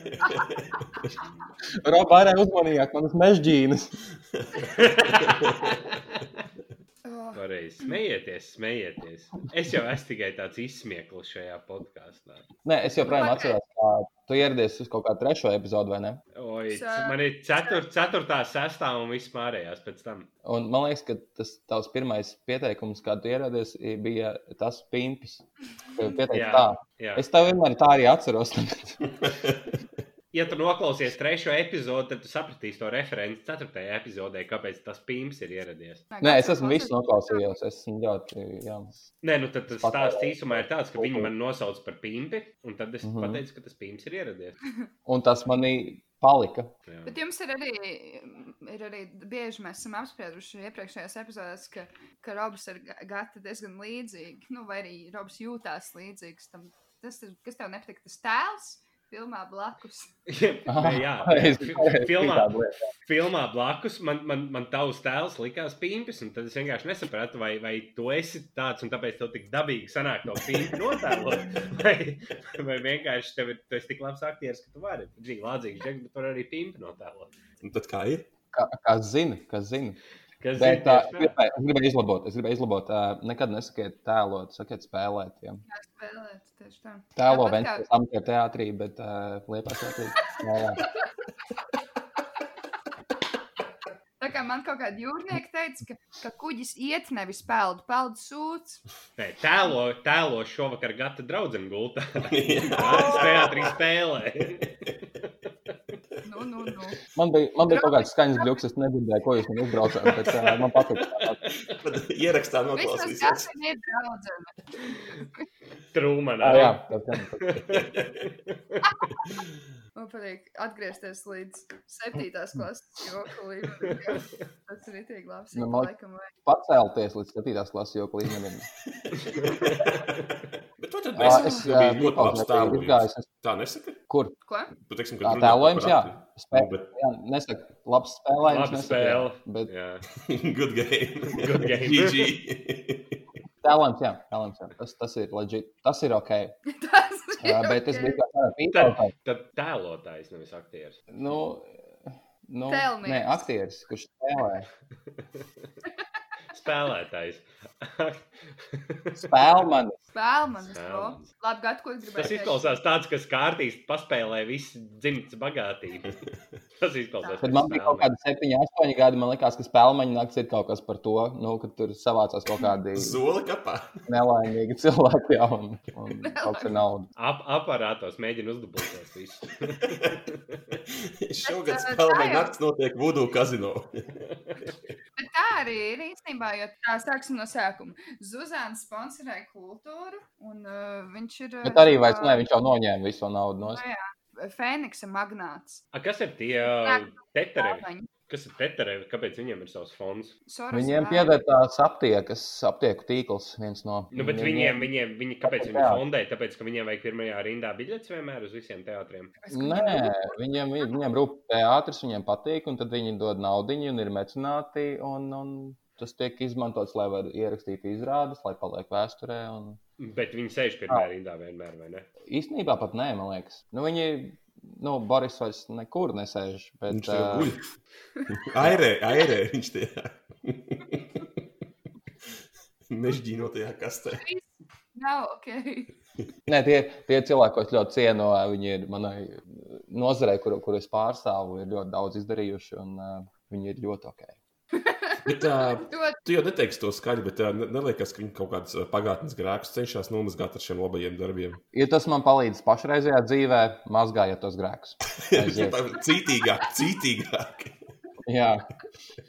C: Roba airē uzmanījāk manas mežģīnas.
A: Uh, Oh.
D: Pareizi. Smejieties, smejieties. Es jau esmu tikai tāds izsmieklis šajā podkāstā.
C: Nē, es joprojām
A: Labi.
C: atceros, ka tu ieradies uz kaut kādu trešo epizodu, vai ne?
D: Oi,
A: Sa-
D: c- man ir cetur, ceturtā, sestā un vispārējās pēc tam.
C: Un man liekas, ka tas tavs pirmais pieteikums, kad tu ieradies, i- bija tas pimpis. Tu Pieteici
D: Jā.
C: tā.
D: Jā.
C: Es tev vienmēr tā arī atceros.
D: Ja tu noklausies trešo epizodi, tad tu sapratīsi to referenci ceturtajā epizodē, kāpēc tas pīns ir ieradies.
C: Nē, es esmu visu noklausījies. Es esmu ļoti. Jā.
D: Nē, nu tad tas stāsts īsumā ir tāds, ka viņi man nosauca par pīnpi, un tad es mm
C: Mhm.
D: -hmm. pateicu, ka tas pīns ir ieradies.
C: Un tas manī palika.
D: Jā.
A: Bet jums ir arī, ir arī bieži mēs esam apsprieduši iepriekšējās epizodēs, ka, ka Robs ir ga- gata diezgan līdzīgi. Nu, vai arī Robs jūtās līdzīgs tam. Tas ir, kas tev nepatīk, tas tēls filmā blakus.
D: Nē, jā,
C: Es-
D: Fi- filmā,
C: tāda lieta.
D: filmā blakus man, man, man tavs tēls likās pīnpis, un tad es vienkārši nesapratu, vai, vai tu esi tāds, un tāpēc tev tik dabīgi sanāk to pīnpi notēlot, vai, vai vienkārši tev ir, tu esi tik labs aktieris, ka tu vari. Dzīvi, lādzīgs, žeks, bet tu vari arī pīnpi notēlot.
B: Un tad kā ir?
C: Kā- Kas zina, kas zina.
D: Kas
C: Bet,
D: ir
C: tā,
D: tieši
C: es,
D: tā?
C: gribēju, es gribēju izlabot, es gribēju izlabot. Uh, nekad nesakiet tēlot, sakiet spēlēt. Ja.
A: Kā spēlēt tieši tā. Tāpat
C: Tēlo
A: kā-
C: Vēnspils amatīra teātrī, bet uh, liepās teātrī. Jā, jā.
A: Tā kā man kaut kāda jūrnieka teica, ka, ka kuģis iet nevis peld, peld sūds.
D: Nē, tēlo, tēlo šovakar gata draudzene gultā.
B: Jā.
D: Teātrī spēlē.
A: Nu, nu, nu.
C: Man bija, man bija kaut kāds skaņas bļuks, es nedzirdēju, ko jūs man uzbraucāt, bet uh, man patīk.
B: Tad ierakstā
A: Vismaz
B: noklausīsies.
A: katram ir draudzene.
D: Trūmanā.
C: Jā, jā, tas gan.
A: Man patīk atgriezties līdz septītās klases joku līmenim. Tas ir itīgi labs.
C: Nu,
A: ik pa
C: man-
A: laikam vajag.
C: pacelties līdz 7. klases joku līmenim.
B: Bet tu tad
C: Ā,
B: nesi
C: Ah, es,
B: tu
C: ā,
B: biji ļoti labs
C: noklausījos, ka
B: tēlojums.
C: izgājis, es-
B: Tā nesaka?
C: Kur?
A: Ko?
B: Tu teiksim,
C: Tā
B: ka
C: tēlojums, jā. Spē,
B: Nu, bet-
C: jā nesaka, labs spēlējums.
D: Laba
C: nesaka,
D: spēle.
C: Bet
D: Jā.
B: Good game.
D: Good game.
B: GG.
C: tēlojums, jā, tēlojums, jā. Tas, tas ir legit, tas ir ok.
A: Tas ir
C: Uh, bet es
A: ok.
C: biju kā tāds
D: Tad,
C: pīpātājs.
D: tad tēlotājs, nevis aktieris.
C: Nu, nu,
A: Tell me.
C: nē, aktieris, kurš spēlē.
D: Spēlētājs.
C: Spēlmanis.
A: Spēlmanis, no.
D: Spēlmanis.
A: Labi, gadu, ko es gribēju
D: Tas izklausās tāds, kas kārtīs paspēlē visu dzimtas bagātību. Tas izklausās.
C: Kad
D: pēc
C: man bija kaut
D: spēlēm.
C: kādi 7, 8 gadi, man liekas, ka spēleņa naktis ir kaut kas par to, nu, ka tur savācās kaut kādi
B: Zoli kapā.
C: nelaimīgi cilvēki jā, un, un kaut kas naudas.
D: Ap, aparātos mēģina uzdublēties visu.
B: Šogad
A: tā-
B: spēlē
A: tā jau-
B: naktis notiek Vudu kazino.
A: Bet tā arī ir īstenībā, jo tā sāksim no sākuma. Zuzāns sponsorē kultūru, un uh, viņš ir. uh,
C: Bet arī vairs ne, viņš jau noņēma visu to naudu no es-
A: Fēniksa magnāts.
D: A, kas ir tie um, teterevi? Kas ir teterevi? Kāpēc viņiem ir savs fonds?
C: Viņiem pievērtās aptiekas, aptieku tīkls viens no.
D: Nu, bet viņiem, viņiem, viņi, kāpēc viņi
C: Jā.
D: fondē? Tāpēc, ka viņiem vajag pirmajā rindā biļetes vienmēr uz visiem teātriem.
C: Nē, viņiem, vi- viņiem rūp teātris, viņiem patīk, un tad viņi dod naudiņu un ir mecenāti, un, un tas tiek izmantots, lai var ierakstīt izrādes, lai paliek vēsturē, un
D: Bet viņi sēž pirmajā rindā vienmēr, vai ne?
C: Īstenībā pat nē, man liekas. Nu, viņi, nu, Boris vairs nekur nesēž. Bet,
B: Viņš jau
C: ā,
B: guļ. Airē, airē viņš tie. Nežģīnotajā kastē.
A: Nav ok.
C: nē, tie, tie cilvēki, ko es ļoti cienu, ā, viņi ir manai nozarei, kur, kur es pārstāvu, ir ļoti daudz izdarījuši. Un, ā, Viņi ir ļoti ok.
B: Bet, uh,
A: Dod
B: tu jau neteiksi to skaļi, bet uh, neliekas, ka viņi kaut kādas ā, pagātnes grēkus cenšas nomazgāt ar šiem labajiem darbiem.
C: Ja tas man palīdz pašreizējā dzīvē, mazgājiet tos grēkus. Aiziet.
B: Tā Cītīgāk, cītīgāk.
C: Jā,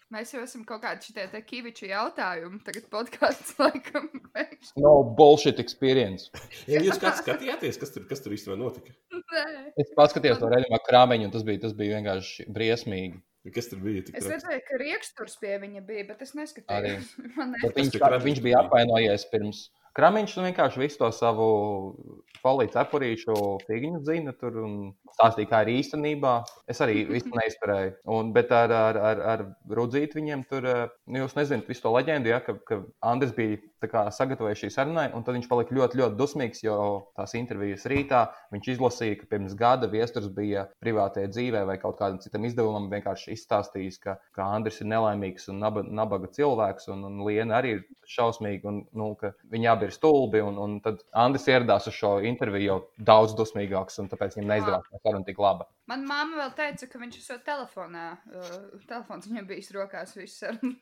A: Mēs jau esam kaut kādi šitie te kiviču jautājumi. Tagad podkāsts laikam beigšu.
C: no bullshit experience.
B: Ja jūs kāds skatījāties, kas tur, kas tur īstenībā notika?
A: Nē.
C: Es paskatījos to reģionā krāmiņu, un tas bija, tas bija vienkārši briesmīgi.
B: Kas tur bija? Tik
A: Es
B: traks?
A: redzēju, ka rīksturs pie viņa bija, bet es neskatījos. Man
C: Bet
A: liekas,
C: viņš,
B: tur
C: pa-
B: krāmiņš
C: viņš bija
B: bija?
C: apvainojies pirms Kramiņš nu vienkārši visu to savu foliju cepurīšu figūru zina tur un stāstīja, kā ir īstenībā. Es arī visu neizturēju. Un, bet ar, ar, ar, ar Rudzītu viņiem tur, eh, nu, jūs nezināt visu to leģendu, ja, ka, ka Andris bija tā kā sagatavojis šī sarunai, un tad viņš palika ļoti, ļoti dusmīgs, jo tās intervijas rītā viņš izlasīja, ka pirms gada viesturs bija privātajā dzīvē vai kaut kādam citam izdevumam vienkārši izstāstījis, ka, ka Andris ir nelaimīgs un naba, nabaga cilvēks, un, un Liena arī ir šausmīga, un nu, ka viņi abi ir stulbi, un, un tad Andris ieradās uz šo interviju jau daudz dusmīgāks, un tāpēc viņam neizdevās tā saruna tik laba.
A: Man māma vēl teica, ka viņš ir telefonā. Uh, telefons viņam bijis rokās visu sarunu.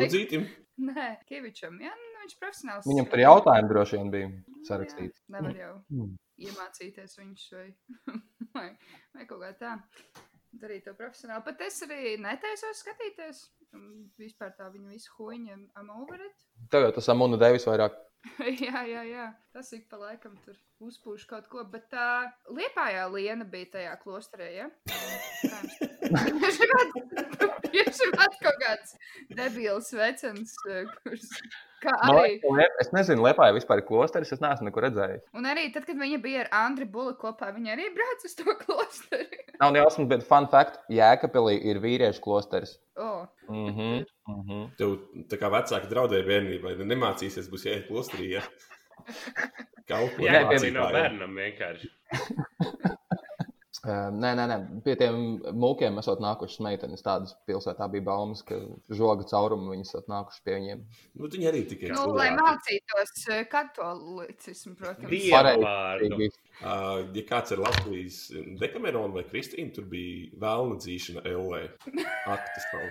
B: Dudzītim?
A: Nē, Kavičam. Jā, nu, viņš ir profesionāls.
C: Viņam tur jautājumi droši vien bija sarakstīti.
A: Jā, nevar jau
C: Mm.
A: iemācīties viņš vai, vai, vai kaut kā tā. Darīt to profesionāli. Pat es arī netaisos skatīties. Un Vispār tā viņa visu huņa amoverit.
C: Tev jau tas Amuna Devis vairāk
A: jā, jā, jā. Tas ik pa laikam tur uzpūš kaut ko. Bet tā liepājā liena bija tajā klosterē, ja? Tā jums- Viņš ir vēl kaut kāds debils vecens, eh, kurš kā
C: Man
A: arī.
C: liekas, ka Liep- Es nezinu, Lietuvā vispār ir klosteris. Es neesmu nekur redzējis.
A: Un arī tad, kad viņa bija ar Andriu Bulu kopā, viņa arī brauca uz to klosteri.
C: Nav nejausmas, bet fun fact, Jēkabīlī ir vīriešu klosteris.
A: Oh.
C: Mhm, mhm.
B: Tev tā kā vecāki draudēja bērnībai, ne- nemācīsies, būs jāiet klosterī. Ja? Kaut ko
D: Jā, tas
C: piemēram,
D: ir no
B: mācītājiem.
D: bērnam vienkārši.
C: Uh, Nē, nē, nē, pie tiem mūkiem esot nākušas meitenes. Tādas pilsētā bija baumas, ka žoga caurumu viņas esot nākušas pie viņiem.
B: Nu, viņi arī tikai
A: Nu, lai mācītos eh, katolicismu, protams.
D: Dieva
C: Pareizi.
D: vārdu.
B: Uh, ja kāds ir Latvijas dekamerona vai Kristīna, tur bija vēlna dzīšana E. LA. Aktas nav.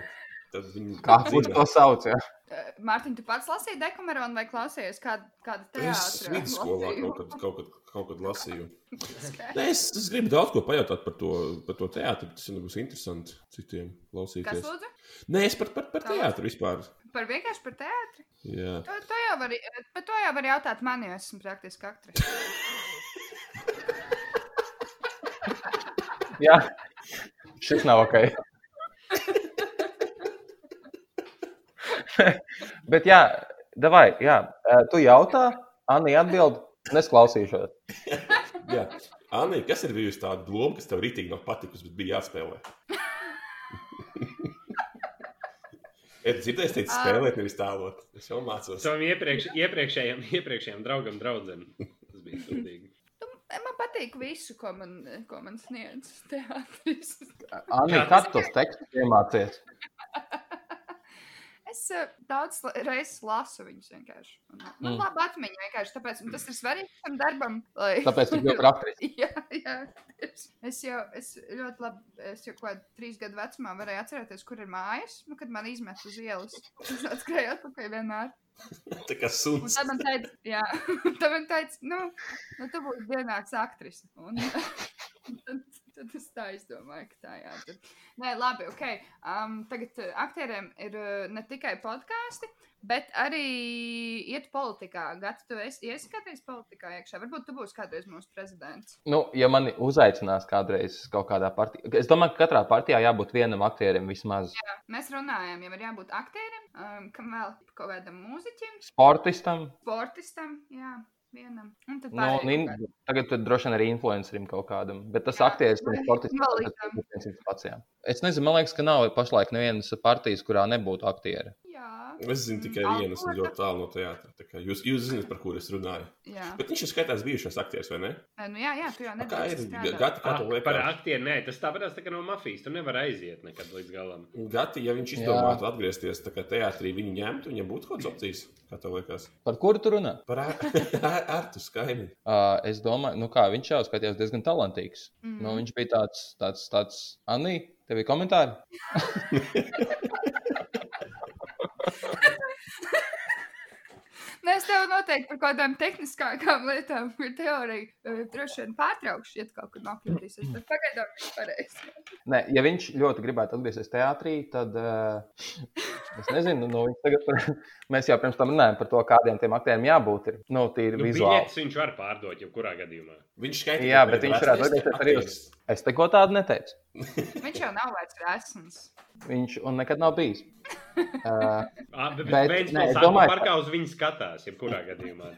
B: Tad viņi
C: Kā viņš to sauc? Ja?
A: Eh, Mārtiņ, tu pats lasīji dekameronu vai klausījies kādu, kādu
B: Es
A: teātru?
B: vidusskolā kaut kad, kaut, kad, kaut kad lasīju. Nē, es, es gribu daudz ko pajautāt par to, par to teātru. Tas jau būs interesanti citiem
A: Kas
B: klausīties.
A: lūdzu?
B: Nē, es par, par, par
A: Kā?
B: teātru vispār.
A: Par vienkārši par teātri?
B: Jā.
A: To, to jau var, par to jau var jautāt man, jo esmu praktiski aktris.
C: Jā, šis nav ok. bet jā, davai, jā. Uh, tu jautā, Anni atbild, nesklausīšos.
B: Jā. Anī, kas ir bijusi tā doma, kas tev rītīgi nav patikusi, bet bija jāspēlē? Es dzirdēju, teicu,
A: Ā.
B: spēlēt, nevis tēlot. Es jau mācos.
D: Savam iepriekš, iepriekšējam, iepriekšējam draugam, draugam. Tas bija sūdīgi.
A: eh, Man patīk visu, ko man, eh, ko man sniedz teātris.
C: Anni,
D: Jā,
C: kā tu tos tekstus iemācies?
A: Es eh, daudz la- reizes lasu viņus vienkārši. Un, Man
C: Mm.
A: mm. labi atmiņa vienkārši, tāpēc un tas ir svarīgi tam darbam. Lai...
C: Tāpēc tu kļūsi par aktrisi.
A: Jā, jā. tieši. Es jau es ļoti labi, es jau kaut kādā trīs gadu vecumā varēju atcerēties, kur ir mājas, nu, kad man izmet uz ielas. Es atskrēju atpakaļ vienmēr.
B: Tā kā
A: Un
B: suns.
A: tad man teica, jā, un tad man teica, nu, nu tu būsi dienāks aktrise. Un tad, tad es tā izdomāju, ka tā jā. Tad. Nē, labi, ok. Um, tagad eh, aktieriem ir eh, ne tikai podkāsti, bet arī iet politikā. Gads, tu esi ieskaties politikā iekšā. Varbūt tu būsi kādreiz mūsu prezidents.
C: Nu, ja mani uzaicinās kādreiz kaut kādā partijā, es domāju, ka katrā partijā jābūt vienam aktierim vismaz.
A: Mēs runājām, jau ir jābūt aktierim, um, kam vēl kaut kādam mūziķim,
C: Sportistam,
A: sportistam, jā, vienam. Un tad
C: nu, un in, tagad tur droši vien arī influencerim kaut kādam. Bet tas
A: Jā,
C: aktieris un
A: vai
C: sportists
A: invalīdam.
C: tas ir viens viens pats. jā. Es nezinu, man liekas, ka nav pašlaik nevienas partijas, kurā nebūtu aktieri.
A: Jā,
B: Es zinu tikai
A: Mm,
B: vienu, es esmu
A: alkohola-
B: ļoti tālu no teātra. Tā kā Jūs, jūs zināt, par kur es runāju.
A: jā.
B: Bet viņš ir skaitās bijušais aktieris, vai ne?
A: Nē, nu, jā, jā, tu jau
B: Tā Kā ir
A: nedrīkst strādāt.
B: gati, kā
D: Ak,
B: to
D: Par
B: lietot?
D: aktieriem, nē, tas tāpat tā kā no mafijas. Tu nevari aiziet nekad līdz galam.
B: Gati, ja viņš
C: Jā.
B: izdomātu atgriezties tā kā teātrī, viņu ņemtu, viņam būtu kaut kāds opcijas, kā tev liekas.
C: Par kuru tu runā?
B: Par ārtu skaidri.
C: Uh, es domāju, nu kā viņš jau skatījās diezgan talantīgs.
A: Mm.
C: Nu, viņš bija tāds, tāds, tāds, Anī, tev ir komentāri?
A: Nē, es tev noteikti par kaut kādām tehniskākām lietām, kur teorija eh, droši vien pārtraukšu, ja tu kaut kur
C: Mm.
A: nokļūtīsies. Bet pagaidām viņš pareizi.
C: Nē, ja viņš ļoti gribētu atgriezties teātrī, tad uh, es nezinu, nu, viņš tagad par, mēs jau pirms tam runājām par to, kādiem tiem aktieriem jābūt. Ir, nu, tīri
D: Nu,
C: nu, vizuāli.
D: biļetes viņš var pārdot jebkurā gadījumā.
B: Viņš skaitās.
C: Jā, bet viņš varētu atgriezties arī uz- Es te ko tādu neteicu.
A: Viņš jau nav vairs resns.
C: Viņš un nekad nav bijis. Uh,
D: Ah, bet
C: Bet,
D: Bens
C: nē, es
D: pilsētā
C: domāju-
D: parkā uz viņu skatās, jebkurā gadījumā.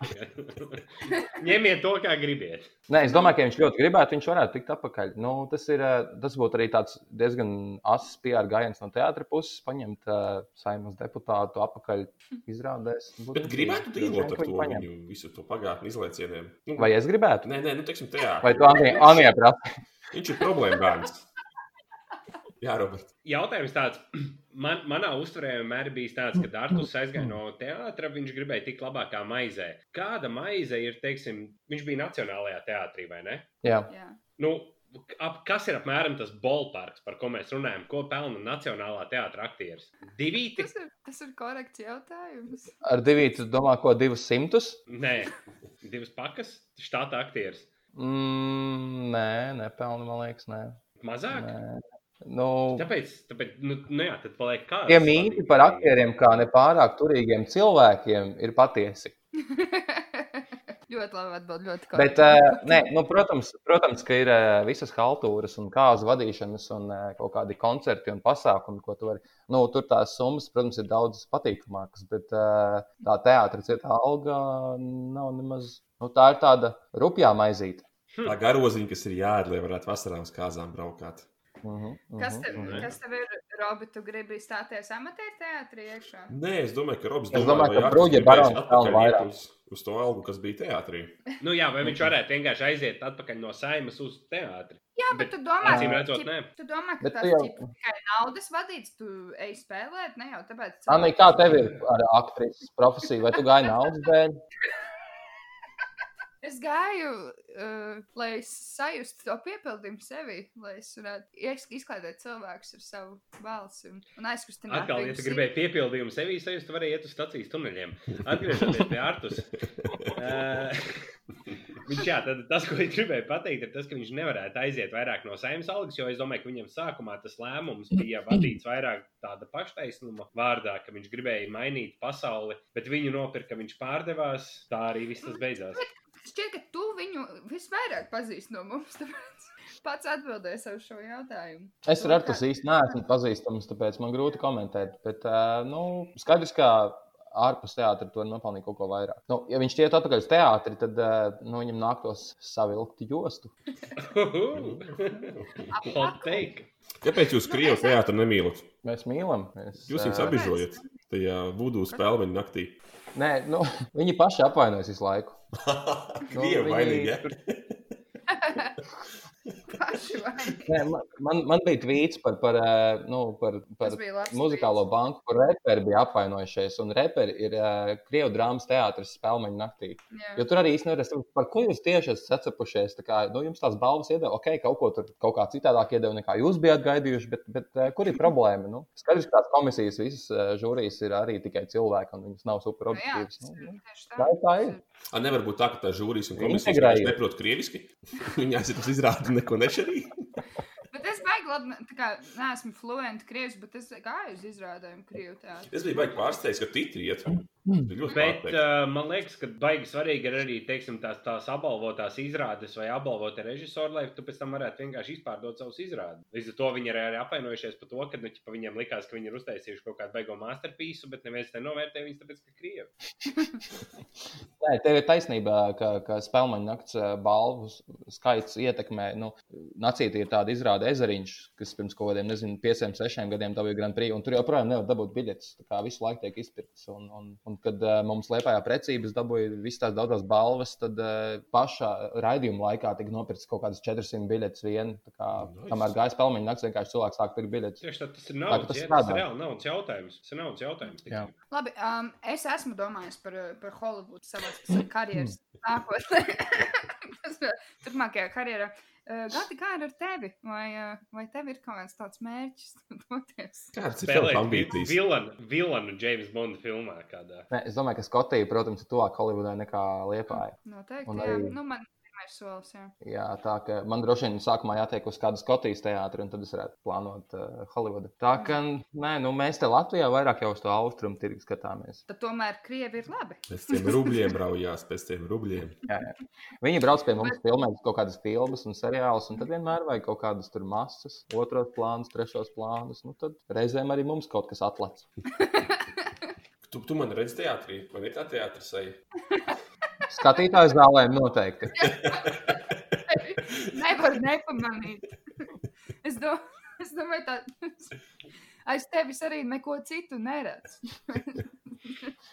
D: Ņemiet to, kā gribiet.
C: Nē, es domāju, ka viņš ļoti gribētu, viņš varētu tikt atpakaļ. Nu, tas, ir, eh, tas būtu arī tāds diezgan asas PR gājiens no teātra puses, paņemt uh, saimnes deputātu atpakaļ izrādēs. Būtu
B: Bet
C: interesanti.
B: gribētu
C: Droši vien,
B: dzīvot
C: ka
B: ar
C: viņi
B: to
C: paņem.
B: viņu, visu to pagātni izlaicieniem. Nu,
C: Vai es gribētu?
B: Nē, nē, nu, teiksim, tajā.
C: Vai tu Anijā prasa?
B: Viņš ir problēma bērns. Jā, Robert.
D: Jautājums tāds, man, manā uzturē vienmēr bija tāds, ka Dārtus aizgāja no teātra, viņš gribēja tikt labākā maizē. Kāda maize ir, teiksim, viņš bija Nacionālajā teātrī vai ne?
C: Jā.
A: Jā.
D: Nu, ap, kas ir apmēram tas bolparks, par ko mēs runājam, ko pelna Nacionālā teātra aktieris? Divīti?
A: Tas, ir, tas ir korekts jautājums.
C: Ar divītu domā, ko divus simtus?
D: Nē, divas pakas, štāta aktieris.
C: Mm, nē, nepelnu, man liekas, nē.
D: Mazāk?
C: nē. Nu,
D: Tāpēc, tāpēc nu, nu jā, tad paliek kā.
C: Tie mīti par aktieriem, kā nepārāk turīgiem cilvēkiem, ir patiesi.
A: ļoti labi atbild, ļoti
C: Bet,
A: korekti.
C: uh, nē, nu, protams, protams, ka ir uh, visas haltūras un kāzu vadīšanas un uh, kaut kādi koncerti un pasākumi, ko tu vari. Nu, tur tās summas, protams, ir daudz patīkamākas, bet uh, tā teātris ir tā alga, nav nemaz. Nu, tā ir tāda rupjā maizīte.
B: Tā garoziņa, kas ir jāēd, lai varētu vasarā uz kāzām braukāt.
C: Mhm, mhm,
A: Kas tev,
C: mhm.
A: kas tev ir, Robi, tu gribi stāties amatieru teātrī iekšā?
B: Nē, es domāju, ka Robs
C: Es
B: domā, vai
C: domāju, ka
B: Artis
C: Brūģa
B: gribēs
C: barons
B: atpakaļ iet
C: pelna vairāk.
B: Uz, uz to algu, kas bija teātrī.
D: Nu, jā, vai viņš varētu vienkārši aiziet atpakaļ no saimas uz teātri?
A: Jā, bet, bet
D: Bet,
A: tu domā,
D: acīm
A: ka-
D: redzot,
A: ķip-
D: nē.
A: Tu domā, ka
C: Bet
A: tas
C: tu
A: ir
C: jau-
A: tikai naudas vadīts, tu ej spēlēt, ne jau tāpēc.
C: Anī, nu, kā tev ir ar aktrises profesiju? Vai tu gāji naudas dēļ?
A: Es gāju, uh, lai es sajustu to piepildījumu sevi, lai es varētu ies- izklaidēt cilvēkus ar savu balsi un, un aizkustināt.
D: Atkal, ja
A: viņu
D: tu
A: sirdi.
D: gribēji piepildījumu sevī, tad jūs varējāt iet uz stācijas tuneļiem. Atgriežoties pie Artus. Ē, Viņš, jā, tad, tas, ko viņš gribēja pateikt, ir tas, ka viņš nevarētu aiziet vairāk no saimnes algas, jo es domāju, ka viņam sākumā tas lēmums bija vadīts vairāk tāda paštaisnuma vārdā, ka viņš gribēja mainīt pasauli, bet viņu nopirka, viņš pārdevās. Tā arī viss tas beidzās.
A: Šķiet, ka tu viņu visvairāk pazīsti no mums. Tāpēc pats atbildēs uz šo jautājumu.
C: Es ar to īsti neesmu pazīstams, tāpēc man grūti komentēt. Bet, ā, nu, skaidrs, ka ārpus teātra to nopelnīja kaut ko vairāk. Nu, ja viņš iet atpakaļ uz teātri, tad ā, nu, viņam nāktos savilkt jostu.
D: Hot take!
B: Kāpēc jūs krievu teātru nemīlat?
C: Mēs mīlam. Mēs,
B: Jūs viņus
C: ā,
A: abi-
B: apbižojat tajā vudu spēleņa naktī.
C: Nē, nu, viņi paši apvainojas visu laiku.
B: Krievi
C: viņi-
B: vainīgi. ja?
A: Paši vai?
C: Nē, man, man, man bija tvīts par, par, ā, nu, par,
A: Tas
C: par
A: bija labs.
C: muzikālo banku, kur reperi bija apvainojušies. Un reperi ir ā, Krievu drāmas teātris spēleņu naktī. Jo
A: brīdis.
C: tur arī īstenībā nevar saprast, par ko jūs tieši esat sacepušies. Tā Kā, nu, jums tās balvas iedeva, ok, kaut ko tur kaut kā citādāk iedeva, nekā jūs bijāt gaidījuši, bet, bet eh, kur ir problēma? Nu, skaidrs, ka tās komisijas, visas eh, žūrijas ir arī tikai cilvēki, un viņas nav super
A: Jā,
C: objektīvas.
A: tas
C: Nu,
A: ir
C: nu.
A: tieši
C: Tā ir tā ir.
B: A, nevar būt tā, ka tā žūrijas un komisijas
C: Integrējiet.
B: vienkārši neprot krieviski. Viņās ir tas izrāda neko nešarī.
A: Bet es baigi labi, tā kā neesmu fluenti krievs, bet es gāju uz izrādējumu krievu teātrī.
B: Es biju baigi pārsteigts, ka titri iet. Bija ļoti
D: Mm. Bet
B: pārsteigts.
D: uh, man liekas, ka baigi svarīgi ir arī teiksim, tās, tās apbalvotās izrādes vai apbalvota režisora, lai tu pēc tam varētu vienkārši izpārdot savus izrādes. Līdz ar to viņi ir arī apvainojušies par to, ka nu, ķipa, viņiem likās, ka viņi ir uztaisījuši kaut kādu beigo masterpiece, bet neviens nenovērtē viņus, tāpēc ka krievi.
C: Nē, tev ir taisnība, ka, ka spēļu nakts eh, balvu s- skaits ietekmē. Nu, Nacīti ir tāda izrāde ezeriņš, kas pirms kaut kādiem, nezinu, pieciem, sešiem gadiem dabūja Grand Prix, un tur joprojām nevar dabūt biļetes. Tā kā visu laiku tiek izpirktas. Un, un, un kad eh, mums Lietpājā precības dabūja visas tās daudzas balvas, tad eh, pašā raidījuma laikā tika nopirktas kaut kādas 400 biļetes viena. Tā Kā,
B: Nice.
C: kamēr gāja spēļu nakts, vienkārši cilvēks sāk pirkt biļetes.
D: Tieši tā, tas ir
C: Tā, ka
D: naudas,
C: tas
D: jā, tas
C: strādā.
D: ir reāli naudas jautājums. Tas ir naudas jautājums.
C: Jā.
D: teiksim.
A: Labi, um, es esmu domājis par, uh, par Hollywoodu savā savā karjeras nākotnē. Tas, uh, Turpmākajā karjerā. Uh, Gati, kā ir ar tevi? Vai, uh, vai tev ir kaut kāds tāds mērķis doties?
B: Kāds ir tavs
D: uh, Spēlēt vi-
B: ambīcijas?
D: vilanu, vilanu James Bond filmā kādā.
C: Nē, es domāju, ka Skotija, protams, ir tuvāk Holivudai nekā Lietpājai.
A: Noteikti.
C: Un
A: Arī...
C: arī-
A: Nu, man pirmais solis. Jā.
C: Jā, tā ka man droši vien sākumā jātiek uz kādu Skotijas teātru, un tad es varētu plānot uh, Holivudu. Tā ka, nē, nu, mēs te Latvijā vairāk jau uz to austrumu tirgu skatāmies.
A: Tad tomēr krievi ir labi.
B: Pēc tiem rubļiem raujās, pēc tiem rubļiem.
C: Jā, jā. Viņi brauc pie mums, filmē kaut kādas filmas un seriālus, un tad vienmēr vajag kaut kādas tur masas, otros plānus, trešos plānus. Nu, tad reizēm arī mums kaut kas atlec.
B: Tu, tu man redzi teātrī, man ir tā teātris.
C: Skatītājs zālēm noteikti.
A: Nevar nepamanīt. Es, do, es domāju, tā aiz tevis arī neko citu neredz.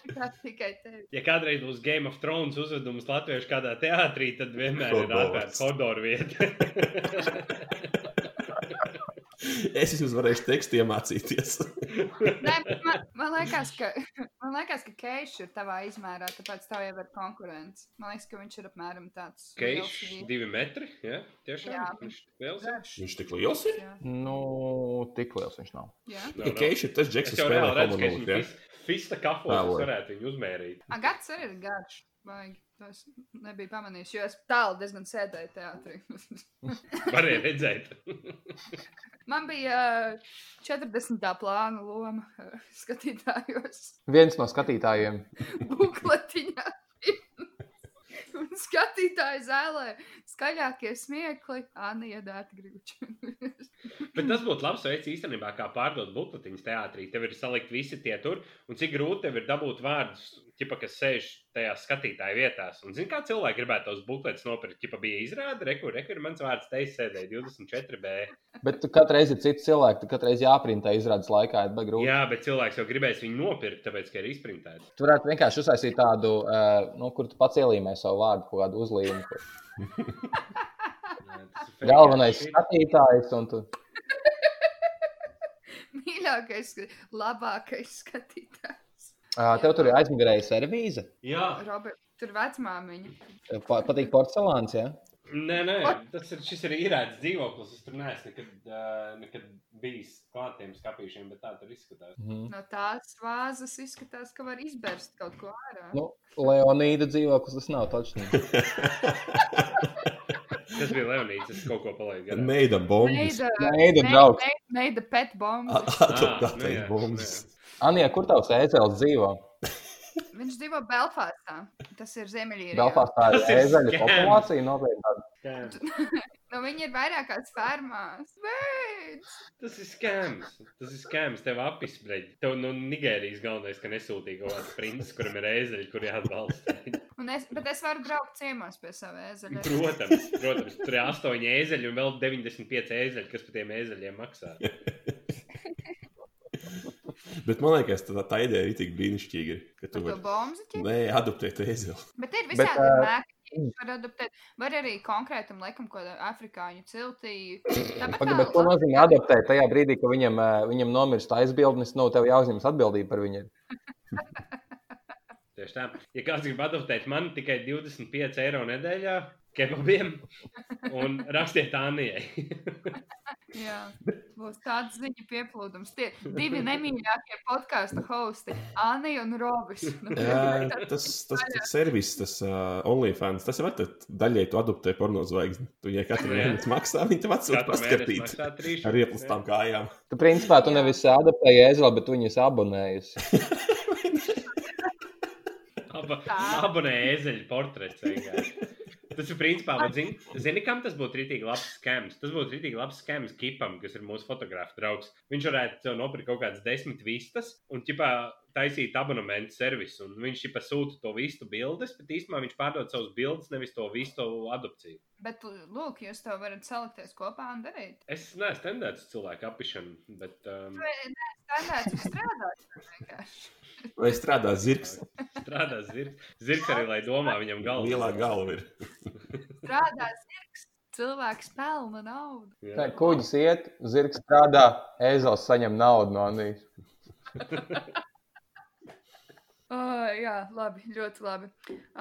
A: Tā tikai tevi.
D: Ja kādreiz būs Game of Thrones uzvedums latviešu kādā teātrī, tad vienmēr ir
B: Hordors.
D: atvērta kodoru vieta.
B: Es jums varēšu tekstu iemācīties.
A: Nē, man, man liekas, ka, man liekas, ka Keits ir tavā izmērā, tāpēc tev jau ir konkurence. Man liekas, ka viņš ir apmēram tāds.
D: Keišs
A: liels
D: divi metri, ja? tiešām?
A: Jā.
D: Viņš liels ir?
A: garš.
B: Viņš tik liels ir.
A: Jā,
C: Nu, tik liels viņš nav.
A: jā.
D: Nav,
B: Ja
D: nav.
B: Keišs ir tas
D: nu. Es
B: džeks, kas
D: jau
B: spēlē
D: reāli redzu, ka
B: homonūtu.
D: viņš
B: Ja?
D: fis- fista kafos, es
B: Vēlāk.
D: varētu viņu uzmērīt.
A: A, Gads arī ir garš. Baigi. To es nebiju pamanījis, jo es tālu diezgan sēdēju teātrī.
D: Varēja redzēt.
A: Man bija uh, 40. plāna loma uh, skatītājos,
C: Viens no skatītājiem.
A: bukletiņā. Un skatītāji zēlē skaļākie smiekli, Anna iedēta grūti.
D: Bet tas būtu labs veids īstenībā, kā pārdot bukletiņus teātrī. Tev ir salikt visi tie tur, un cik grūti tev ir dabūt vārdus, ķipa, kas sēž tajā skatītāja vietās. Un zini, kā cilvēki gribētu tos bukletus nopirkt? Ķipa bija izrāde, rekur, rekur, mans vārds te sēdēja 24B.
C: Bet tu katru reizi ir cits cilvēks, tu katru reizi jāprintē izrādes laikā, ir baigi grūti.
D: Jā, bet cilvēks jau gribēs viņu nopirkt, tāpēc, ka ir izprintēts.
C: Tu varētu vienkārši uzsākt tādu, uh, nu, kur tu pats ielīmē savu vārdu, kaut kādu uzlīmu. kur
D: Jā, tas ir fake
C: Galvenais
D: shit.
C: skatītājs, un tu
A: Mīļākais, labākais skatītājs.
C: Uh, tev tur ir aizmigrēja servīze.
D: Jā,
A: Robert, tur vecmāmiņa.
C: Tev Eh, pa- Patīk porcelāns. Ja?
D: Nē, nē,
A: Ko?
D: tas ir, šis ir īrēts dzīvoklis. Es tur neesmu nekad, uh, nekad bijis klāt tiem skāpīšiem, bet tā tur izskatās.
C: Mhm.
A: No tās vāzes izskatās, ka var izbērst kaut ko ārā.
C: Nu, Leonīda dzīvoklis tas nav tačnība.
D: Tas bija Leonīds, es kaut ko palaidu garām.
B: Neida bombas.
A: Neida,
C: Neida, draugs.
A: Neida pet
C: Ah.
A: bomba.
D: Ā,
B: Tā
D: nu
B: ir
D: jā,
B: bombas.
D: nu
C: Anija, kur tavs ēzelis dzīvo?
A: Viņš dzīvo Belfāstā. Tas ir Ziemeļīrijā.
C: Belfastā ir
D: Tas ir
C: ēzeļu
D: scams.
C: populācija nopietna.
D: Skams.
A: Nu, viņi ir vairākās fermās. Beidz!
D: Tas ir skams. Tas ir skams. Tev apispreģi. Tev no Nigērijas galvenais, ka nesūtīja kaut kāds princis, kuram ir ēzeļi, kur jāatbalsta.
A: Un es, bet es varu braukt ciemos pie sava ēzeļa.
D: Protams, protams. Tur ir astoņi ēzeļi un vēl 95 ēzeļi, kas par tiem ēzeļiem maksā.
B: Bet man liekas, tā, tā ideja ir tik brīnišķīga, ka tu
A: Par to
B: vari.
A: bombuļsakti.
B: Nē, adoptēt ēzeli.
A: Bet ir
C: Bet,
A: visādi
C: ā, mm.
A: mākslinieki, kas var adaptēt. Var arī konkrētam laikam, ko afrikāņu ciltīju. Tāpat
C: Pagaid, bet ko nozīmē adaptēt tajā brīdī, kad viņam, ā, viņam nomirst aizbildnis, nu, tev jāuzņemas atbildība par viņu.
D: Tieši tā. Ja kāds grib adoptēt mani tikai 25 eiro nedēļā, kebabiem un rakstiet Anijai.
A: Jā, būs tāds ziņu pieplūdums. Tie divi nemīļākie podkāstu hosti - Anija un Robis. Nu,
B: Jā, tas, tas, tas servis, tas uh, OnlyFans, tas jau var teikt, daļai tu adoptē pornozvaigzni. Tu viņai katru
D: Jā.
B: mēnesi maksā, viņi tev atsūta paskatīt ar ieplastām kājām.
C: Tu principā tu
A: Jā.
C: nevis adaptēji ēzeli, bet tu viņus abonējusi.
D: Ab
A: Tā.
D: abonē ezeļu portrets. vienkārši. Tas ir principā, bet zini, zini, kam tas būtu rītīgi labs skams? Tas būtu rītīgi labs skams Kipam, kas ir mūsu fotogrāfa draugs. Viņš varētu sev nopirkt kaut kādas desmit vistas un ķipā taisīt abonementu servisu. Un viņš ķipā sūta to vistu bildes, bet īstenībā viņš pārdod savus bildes, nevis to vistu adopciju.
A: Bet, lūk, jūs to varat salikties kopā un darīt.
D: Es neesmu tendēts uz cilvēku apišanu, bet um,
A: Strādāt, strādāt. vienkārši.
B: Vai strādā zirgs?
D: strādā zirgs. Zirgs arī, lai domā viņam galvā.
B: Lielā galva ir.
A: Strādā zirgs, cilvēks pelna naudu.
C: Tā, Kuģis iet, zirgs strādā, ēzelis saņem naudu no Anijas.
A: Oh, jā, labi, ļoti labi.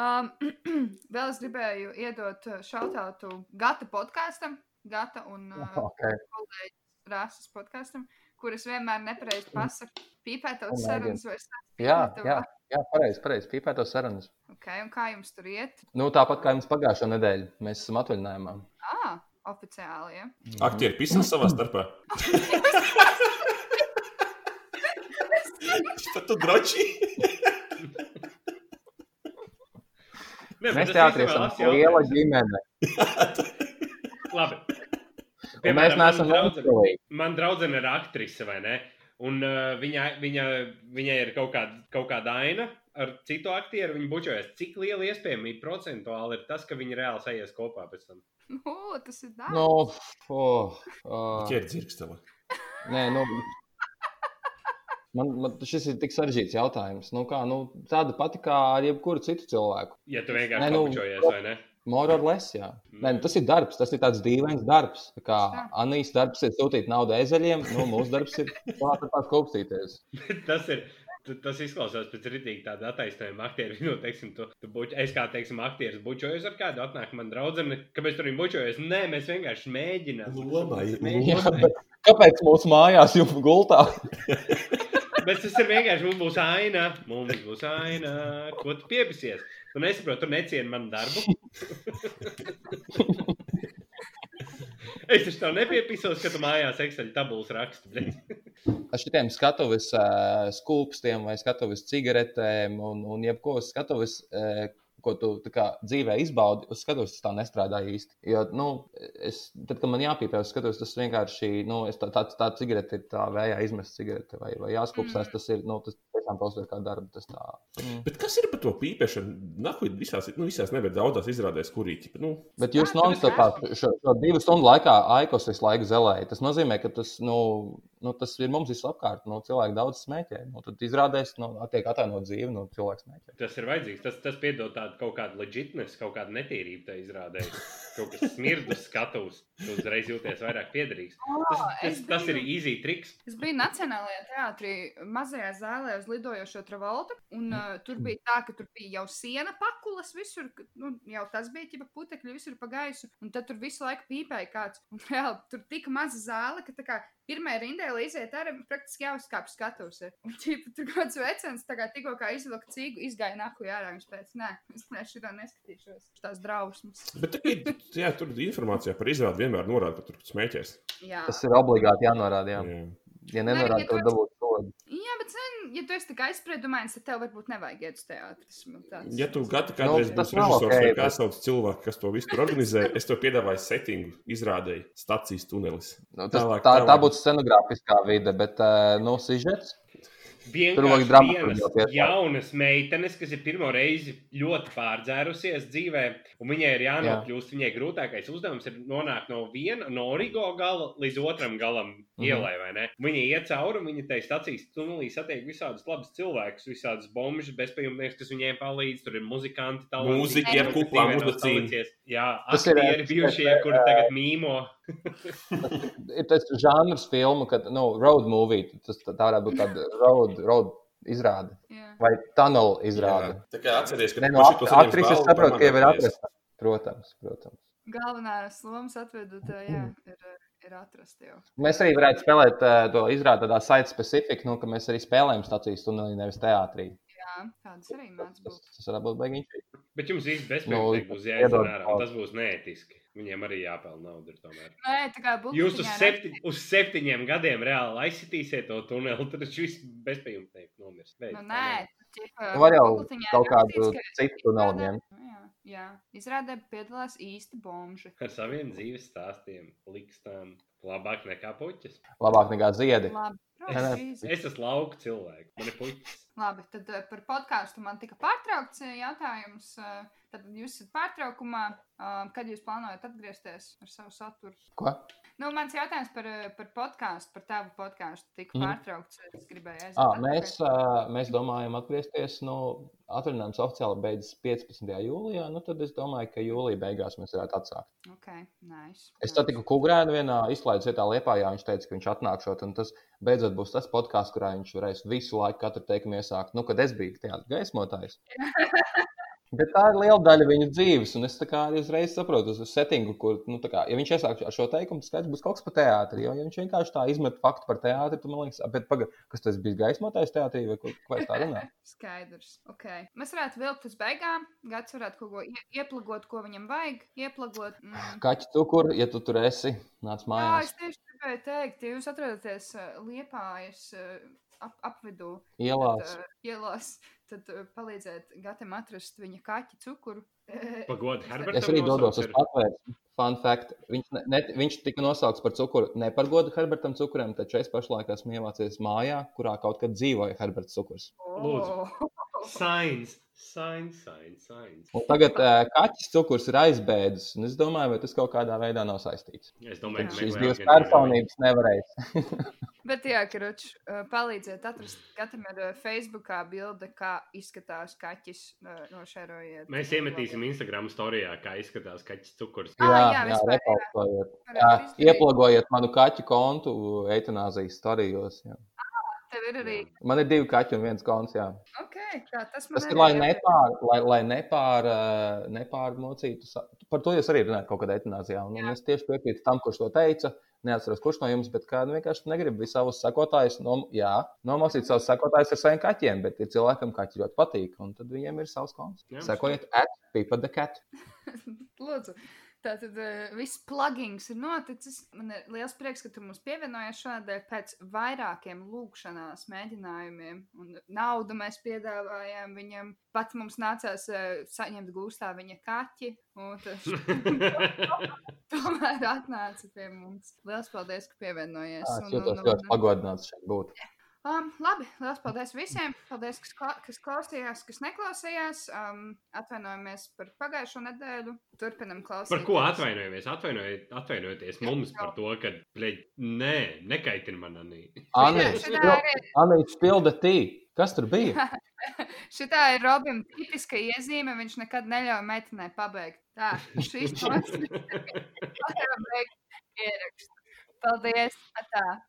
A: Um, vēl es gribēju iedot šautautu Gata podkāstam, Gata un uh,
C: Okay.
A: kolēģis Rāsas podkāstam, kuras vienmēr nepareizi pasaka, pīpētos
C: Komēdija.
A: sarunas vai
C: Jā,
A: Tev-
C: jā, jā pareizi, pareizi. Pīpēto sarunas.
A: Okay, un kā jums tur iet?
C: Nu, tāpat kā jums pagājušā nedēļa, mēs esam atvaļinājumā. Mhm.
A: Ah, oficiāli. Ja?
B: Aktieri pisas savā starpā. Tad tu droši.
D: Nē, bet
C: Mēs
D: tas
C: teātrī
D: īstenībā
C: esam
D: labs
C: liela
D: jautājums.
C: ģimene.
D: Labi.
C: un Mēs
D: Piemēram, mana
C: neesam
D: draudzene-
C: laulīgi.
D: Man draudzene ir aktrise, vai ne? Un uh, viņa, viņa, viņa ir kaut kāda, kaut kāda aina ar citu aktieru. Viņa bučojas, cik liela iespējamība procentuāli ir tas, ka viņi reāli sajies kopā pēc tam.
A: Nu, tas ir dārgi.
C: Nu, oh, uh,
B: Ķer dzirksteli.
C: nē, nu, man, man šis ir tik sarežģīts jautājums. Nu, kā, nu, tāda pati kā ar jebkuru citu cilvēku.
D: Ja tu
C: Nē,
D: vienkārši
C: nu,
D: pabučojies, vai ne?
C: More or less, jā. Nē, nu, tas ir darbs, tas ir tāds dīvains darbs. Tā Kā
A: Tā.
C: Anīs darbs ir sūtīt naudu ezeļiem, nu, mūsu darbs ir pārāk kopstīties.
D: tas ir. t- Tas izklausās pēc rītīgi tāda attaisnojuma aktieru. Nu, teiksim, tu, tu buč, es kā teiksim, aktieris bučojos ar kādu, atnāk man draudzene, kāpēc tur viņi bučojas. Nē, mēs vienkārši mēģinām.
B: Lomā,
C: Jā,
D: Mēģinām.
C: bet kāpēc mūsu mājās jums gultā?
D: Bet tas ir vienkārši. Mums būs aina. Mums būs aina. Ko tu piepsies? Tu nesaproti, tu necieni manu darbu. es taču tev nepiepisos, ka tu mājās eksāmena tabulas rakstu. bļaļ.
C: Ar šitiem skatuves uh, skulpstiem vai skatuves cigaretēm un, un jebko uz skatuves. Uh, Ko tu tā kā, dzīvē izbaudi, uz skatuves tas tā nestrādā īsti. Jo, nu, es, tad, kad man jāpīpē uz skatuves, tas vienkārši nu, es tā, tā, tā cigarete ir tā vējā izmesta cigarete vai, vai jāskūpstās.
A: Mm.
C: Tas ir, nu, tas tiešām pauzē kā darba. Tas tā. Mm.
B: Bet kas ir par to pīpēšanu? Nahuj, visās, nu, visās nevis daudzās izrādēs, kurīķi. bet, Nu,
C: Bet jūs
A: Ah, tāpēc
C: non-stopā šo, šo divu stundu laikā aikos visu laiku zelējat. Tas nozīmē, ka tas, nu, nu, tas ir mums visapkārt. Nu, cilvēki daudz smēķē. Nu, tad izrādās, ka nu, tiek attēlot dzīve no cilvēka nu, smēķē.
D: Tas ir vajadzīgs. Tas, tas piedod tādu kaut kādu leģitnes, kaut kādu netīrību tajā izrādē. Kaut kas smirdus skatus. Tu uzreiz jūties vairāk piederīgs. Tas, tas,
A: es
D: tas ir
A: biju-
D: easy triks.
A: Es biju Nacionālajā teātrī, mazajā zālē uz lidojošo travoltu.
C: Mm.
A: Un, uh, tur bija tā, ka tur bija jau siena pakulas visur, ka, nu, jau tas bija ķipa putekļi visur pa gaisu. Un tad tur visu laiku pīpēja kāds. Un reāli tur tik maza zāle, ka tā kā pirmajā rindē, lai iziet ārā, praktiski jāuzkāpj skatos. Un ķipa, tur kāds vecens tā kā tikko kā izvilka cīgu, izgāja nahu ārā. Viņš teica, nē, es ne šitā neskatīšos. Tās drausmas.
B: bet tā, ir- jā, tur informācijā par izrādi vienmēr norāda, ka tur smēķēs.
A: Jā.
C: Tas ir obligāti jānorāda. Jā.
B: Jā.
C: Ja
A: Nē,
C: nenorāda,
A: ja
C: tad
A: tu-
C: dabūt sodu.
A: Jā, bet, zin, ja tu esi tā kā aizspriedumains, tad tev varbūt nevajag iet uz teātris.
B: Ja tu gada kādreiz
C: Nu, tas
B: būsi
C: nav
B: režisors
C: ok,
B: vai
C: bet-
B: kā sauc cilvēku, kas to visu tur organizē, es tev piedāvāju settingu, izrādēju stacijas tunelis.
C: Nu, tas,
B: Tālāk,
C: tā, tā
B: tālāk.
C: būtu scenogrāfiskā vide, bet uh, nu, sižets. Tur vajag
D: vienkārši
C: dramaturgi
D: vienas
C: jau tiešām.
D: jaunas meitenes, kas ir pirmo reizi ļoti pārdzērusies dzīvē, un viņai ir jānokļūst. Viņai grūtākais uzdevums ir nonākt no viena, no origo gala līdz otram galam
C: Mhm.
D: ielai, vai ne? Viņa iet cauri, un viņa te stācijas tunelī satiek visādus labus cilvēkus, visādus bombuļus, bezpajumtnieks, kas viņiem palīdz. Tur ir muzikanti,
B: Mūziķi
A: ar
D: kas
B: kuklām
D: dzīvē nav
B: uzacīm.
D: salicies. Jā,
C: Tas
D: tas
C: ir,
D: ir
C: eh,
D: bijušie,
C: tas ir,
D: kuri tagad mīmo.
C: Ir tas žanrs filmu, kad nu, road movie, tas tā varētu būt tāda road, road izrāde
A: Jā.
C: vai tunnel izrāde. nu,
B: Tā kā atceries, ka
C: Nē,
B: tu
C: no,
B: paši to saņemsi
C: Atrises
B: balvu par
C: saprot, ka jau ir
B: manā pieejas.
C: atrasta. Protams, protams.
A: Galvenā sloma atveidotājā
C: Mm.
A: ir, ir atrast jau.
C: Mēs arī varētu spēlēt eh, to izrādi tādā site specific, nu, ka mēs arī spēlējam stācijas tunelī, nevis teātrī.
A: Jā, tādas arī
C: Tas,
A: mēdz būt.
C: tas varētu būt baigi. interesanti.
D: Bet jums īsti
C: Nu,
D: bezpajumtnieks būs
C: iedod
D: jāizdara ārā, un
C: naudu.
D: tas būs neētiski. Viņiem arī jāpelna naudu ir tomēr.
A: Nē, tā kā būtu.
D: Jūs uz, septi, uz septiņiem gadiem reāli aizsitīsiet to tuneli, tad viņš viss bezpajumtnieki nomirs. Beidz,
A: Nu, nē, ķipa,
C: Nu, var jau
A: Bukletiņā
C: kaut kādu
A: rakstīts, ka
C: citu tuneli ņemt.
A: izrādē- Jā, jā. izrādē piedalās īsti bomži.
D: Ar saviem dzīves stāstiem, likstām, labāk nekā puķis.
C: Labāk nekā ziedi.
A: Labi,
C: nē.
A: protams, īsti.
D: Es esmu lauka cilvēks, man ir puķis.
A: Labi, tad eh, par podkāstu man tika pārtraukts eh, jautājums. eh, Tad jūs esat pārtraukumā, eh, kad jūs plānojat atgriezties ar savu saturu?
C: Ko?
A: Nu, mans jautājums par, eh, par podkāstu, par tavu podkāstu tika
C: Mhm. Ah,
A: mm. pārtraukts. Es gribēju aiziet.
C: À,
A: atpakaļ.
C: mēs, eh, mēs domājam atgriezties. Nu, atvaļinājums oficiāli beidzas 15. jūlijā. Nu, tad es domāju, ka jūlijā beigās mēs varētu atsākt.
A: Okay, nice,
C: Es satiku Kungrēnu vienā izslēdzot vietā Lietpā, ja viņš teica, ka viņš atnākšot. Un tas beidzot būs tas podkāsts, kurā viņš varēs visu laiku katru teikumu iesākt. Nu, kad es biju teātris gaismotājs. Bet tā ir liela daļa viņu dzīves, un es tā kā arī uzreiz saprotu, uz settingu, kur, nu, tā kā, ja viņš iesāk ar šo teikumu, tad skaidrs būs kaut kas par teātri. Jo, ja viņš vienkārši tā izmet faktu par teātri, tad man liekas, "A, bet paga, kas tas bija gaismotājs teātrī vai ko, ko es tā runāju?
A: Skaidrs. Okay. Mēs varētu vilkt uz beigām. Gads varētu kaut ko ie- ieplagot, ko viņam vajag. Ieplagot. Mm.
C: Kaķi cukur, ja tu tur esi, nāc
A: Jā,
C: mājās.
A: es tieši gribēju teikt, ja jūs atrodaties uh, liepājas uh, ap, apvidū, tad,
C: Ielās.
A: uh, ielās, tad uh, palīdzēt Gatam atrast viņa kaķi cukuru.
D: Pagodi, Herbertam.
C: Es arī dodos uz
D: nosauc ir-
C: patvērumu. Fun fact. Viņš, ne, ne, viņš tika nosaukts par cukuru. Ne par godu Herbertam Cukuram, taču es pašlaik esmu ievācies mājā, kurā kaut kad dzīvoja Herberts Cukurs.
A: Oh,
D: Sains, sains, sains, sains.
C: Un tagad uh, kaķis cukurs ir aizbēdzis. un Es domāju, vai tas kaut kādā veidā nav saistīts.
D: Es domāju,
A: Jā.
C: Tad
D: ka
C: šīs
D: meklējām
C: divas
D: gan
C: personības nevarēs.
A: Bet, jā, Kruč, palīdziet atrast Gatam ar uh, Facebookā bildi, kā izskatās kaķis uh, no šērojiet.
D: Mēs iemetīsim Instagram storijā, kā izskatās kaķis cukurs.
A: Ah, jā,
C: jā,
A: vispār, jā.
C: repalstojiet. Jā, ieplagojiet manu kaķu kontu eitanāzijas starijos. Jā.
A: Tev ir arī.
C: Man ir divi kaķi un viens konts, jā.
A: Ok, tā tas man
C: Tas ir, lai
A: arī jāpie-
C: nepār, lai, lai nepār, ā, nepārmocītu. sa- Par to jūs arī runājat kaut kādā eitanāzijā. Un, un es tieši piekrītu tam, kurš to teica. Neatceros, kurš no jums, bet kādu vienkārši negrib visus savus sekotājus. Nom, jā, nomocīt savus sekotājus ar saviem kaķiem, bet ir cilvēkam kaķi ļoti patīk. Un tad viņiem ir savs konts.
D: Jā,
C: Sekojiet, at people the cat.
A: Lūdzu. Tātad eh, viss plugins ir noticis. Man ir liels prieks, ka tu mums pievienojies šādēļ pēc vairākiem lūkšanās mēģinājumiem. Un naudu mēs piedāvājām viņam. Pat mums nācās eh, saņemt gūstā viņa kaķi. Un tas tomēr atnāca pie mums. Liels paldies, ka pievienojies.
C: Jā,
A: Un-
C: Ah, Es
A: un-
C: jūtos
A: un-
C: ļoti pagodināts šeit būt.
A: Um, labi, liels paldies visiem. Paldies, kas, kla kas klausījās, kas neklausījās. Um, atvainojamies par pagājušo nedēļu. Turpinam klausīties.
D: Par ko atvainojamies? Atvainojiet- Atvainojieties mums par to, ka, blēģ, nē, nekaitina man arī.
A: Šitā-
C: Anīts,
A: šitā ir-
C: Anīts pilda tī. Kas tur bija?
A: Šitā ir Robina tipiska iezīme. Viņš nekad neļauj meitenei pabeigt. Tā, šīs monētas ir pabeigts ieraksts. Paldies! Atā.